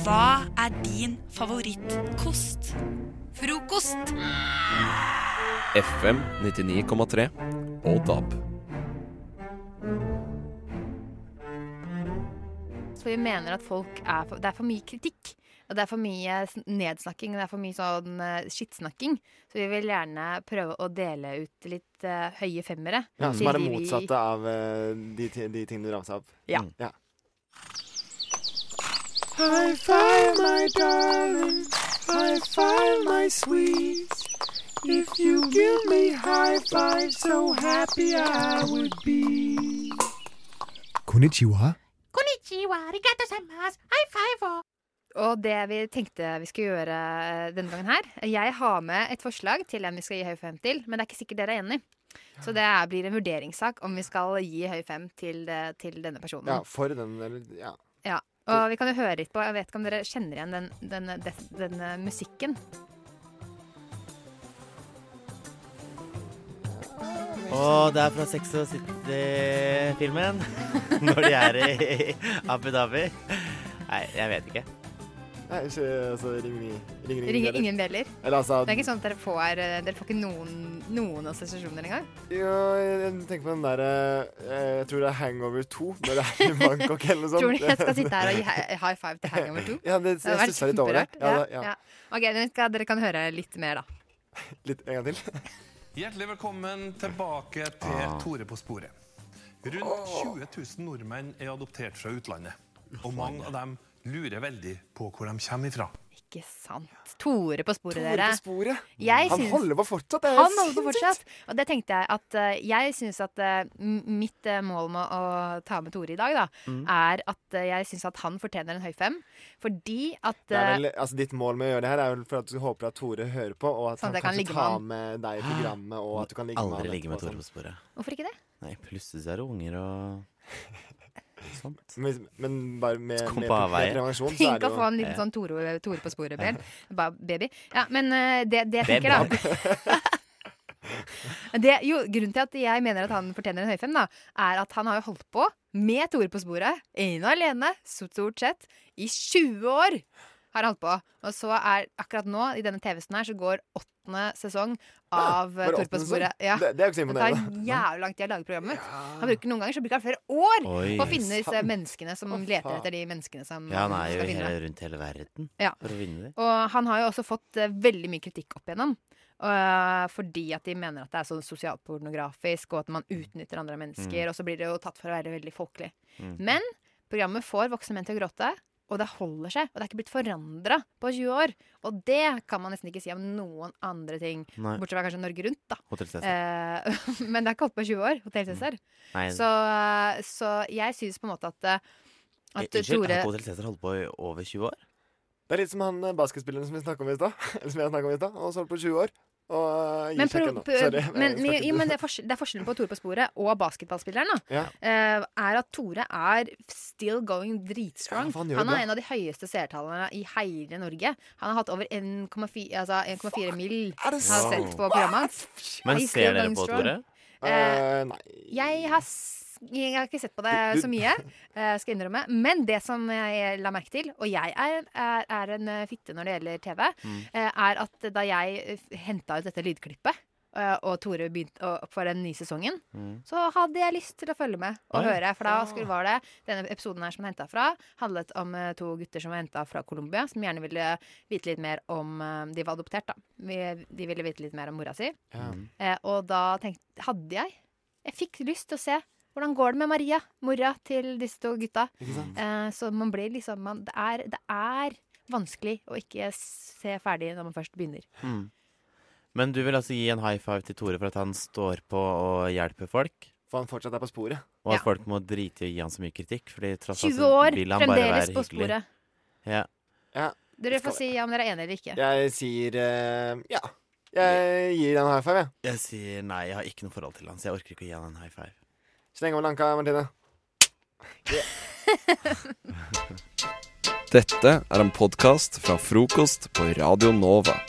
D: Hva er din favorittkost? Frokost!
A: FM 99,3 og DAB.
P: For vi mener at folk er for, Det er for mye kritikk. Og det er for mye sn- nedsnakking, og det er for mye sånn eh, skittsnakking. Så vi vil gjerne prøve å dele ut litt eh, høye femmere.
S: Ja,
P: til
S: som er det
P: de vi-
S: motsatte av eh, de, ti- de tingene du ramsa opp. Mm.
P: Ja.
S: ja.
I: High five, my darling. High five, my sweet.
C: If you give me high five, so happy I would be.
S: Konnichiwa.
P: Konnichiwa, arigato saimasu, high five Og det vi tenkte vi skulle gjøre eh, denne gangen her Jeg har med et forslag til en vi skal gi høy fem til, men det er ikke sikkert dere er enig. Så det er- blir en vurderingssak om vi skal gi høy fem til, eh, til denne personen.
J: Ja, for den, eller Ja.
P: Ja, og vi kan jo høre litt på Jeg vet ikke om dere kjenner igjen den, den, den, den eh, musikken.
Q: Og det er fra Sex og City-filmen. Når de er i Abu Dhabi. Nei, jeg vet ikke.
S: Nei, ikke altså, ring, ring, ring, ring,
P: Ringer ingen bjeller.
S: Eller altså
P: Det er ikke sånn at dere får, eh, dere får ikke noen, noen assosiasjoner engang.
S: Ja, jeg, jeg tenker på den der eh, Jeg tror det er Hangover 2, når det er i Bangkok eller noe sånt.
P: Tror du jeg skal sitte her og gi hi- high five til Hangover 2?
S: sånn. Ja, det- jeg stusser litt over det. Ja,
P: Ja,
S: det- ja.
P: ja. Ok, nå skal, dere kan høre litt mer, da.
S: Litt en gang til.
T: Hjertelig velkommen tilbake til
S: Ah.
T: Tore på sporet. Rundt 20 000 nordmenn er adoptert fra utlandet. Og mange av dem lurer veldig på hvor de kommer ifra.
P: Ikke sant. Tore på sporet,
S: Tore
P: dere.
S: på sporet.
P: Jeg
S: Han
P: syns-
S: holder på fortsatt, det er
P: Han holder på
S: sinnssykt.
P: fortsatt. Og det tenkte jeg at eh, jeg syns at eh, m- mitt eh, mål med å ta med Tore i dag, da,
S: Mm.
P: er at eh, jeg syns at han fortjener en høy fem. Fordi at
S: Det er
P: eh,
S: vel, altså, ditt mål med å gjøre det her er vel for at du håper at Tore hører på, og at
P: Sånn at jeg
S: han
P: kan
S: kanskje
P: ligge med
S: tar
P: han.
S: med deg i programmet, og at du kan ligge med
Q: Aldri
S: han
Q: ligge med
S: etterpå,
Q: Tore på
S: sånn.
Q: sporet.
P: Hvorfor ikke det?
Q: Nei, plutselig så er det unger og Sånn. sånt.
S: Men, men bare med,
Q: Kom
S: med,
Q: på
S: med
Q: avveie.
S: prevensjon, så er
P: Tenk å
S: det
P: få en liten sånn Tore, Tore på sporet-bjell. Bare baby. Ja, men eh, det, det jeg tenker, da det, jo, Grunnen til at jeg mener at han fortjener en høyfem, da, er at han har jo holdt på med Tore på sporet, ene og alene, så stort sett, i 20 år. Har han holdt på. Og så er akkurat nå, i denne TV-en her, så går åttende sesong av
S: bare
P: eh, Tore på
S: åttende
P: sporet.
S: sesong? Det- det er jo ikke så imponerende.
P: Det tar jævlig lang tid å lage programmet. Han bruker noen ganger så bruker han flere år
Q: Oi.
P: på å finne disse
Q: Sant.
P: menneskene som leter etter de menneskene som
Q: Ja, han er
P: skal
Q: jo
P: vinne.
Q: hele, rundt hele verden
P: Ja.
Q: for å vinne det.
P: Og han har jo også fått eh, veldig mye kritikk opp igjennom. eh, fordi at de mener at det er så sosialpornografisk, og at man utnytter andre mennesker.
M: Mm.
P: Og så blir det jo tatt for å være veldig folkelig.
M: Mm.
P: Men programmet får voksne menn til å gråte, og det holder seg. Og det er ikke blitt forandra på 20 år. Og det kan man nesten ikke si om noen andre ting.
Q: Nei.
P: Bortsett fra kanskje Norge Rundt, da.
Q: Hotel Cæsar.
P: Eh, men det er ikke holdt på i 20 år. Hotell Cæsar.
Q: Mm. Nei.
P: Så, så jeg syns på en måte at, eh,
Q: Eh,
P: at
Q: Unnskyld,
P: Tore
Q: har Hotel Cæsar holdt på i over 20 år?
S: Det er litt som han eh, basketspilleren som vi snakket om i stad. Eller som jeg snakket om i stad. Og så holdt på i 20 år. Og eh, gir
P: Men,
S: seg ikke
P: pro-
S: nå. Sorry.
P: pro- men,
S: jeg skal
P: men,
S: ikke-
P: jo, men det, er forskjell, det er forskjellen på Tore på sporet og basketballspilleren. Da,
S: Ja.
P: eh, er at Tore er still going dritstrong.
S: Ja, for han gjør
P: han
S: det
P: har
S: bra.
P: en av de høyeste seertallene i hele Norge. Han har hatt over 1,4 altså 1,4 mill. Han har
Q: sant?
P: sett på programmet hans.
Q: Men
P: He's
Q: ser
P: still
Q: dere
P: going
Q: på,
P: strong.
Q: Tore?
P: Eh,
S: Eh, nei.
P: jeg har s- jeg har ikke sett på det så mye, eh, skal jeg innrømme. Men det som jeg la merke til, og jeg er, er, er en eh, fitte når det gjelder TV,
M: Mm.
P: eh, er at da jeg henta ut dette lydklippet, eh, og Tore begynte å- for den nye sesongen,
M: Mm.
P: så hadde jeg lyst til å følge med og
M: Oi.
P: høre. For da
M: Ah.
P: skulle, var det denne episoden her som jeg henta fra, handlet om eh, to gutter som var henta fra Colombia, som gjerne ville vite litt mer om eh, De var adoptert, da. Vi- De ville vite litt mer om mora si. Eh, og da tenkte, hadde jeg Jeg fikk lyst til å se hvordan går det med Maria, mora til disse to gutta. Eh, så man blir liksom man, det, er, det er vanskelig å ikke se ferdig når man først begynner.
Q: Mm. Men du vil altså gi en high five til Tore for at han står på og hjelper folk?
S: For han fortsatt er på sporet.
Q: Og at folk må drite i å gi han så mye kritikk? Fordi tross alt
P: 20
Q: så
P: år,
Q: vil han bare
P: fremdeles
Q: være
P: på
Q: hyggelig.
P: sporet.
Q: Ja.
S: Ja.
P: Dere får si om dere er enige eller ikke.
S: Jeg sier eh, ja. Jeg gir deg en high five, jeg.
Q: Jeg sier nei, jeg har ikke noe forhold til han, så jeg orker ikke å gi han en high five.
S: Sleng over lanka, Martine.
A: Dette er en podkast fra frokost på Radio Nova.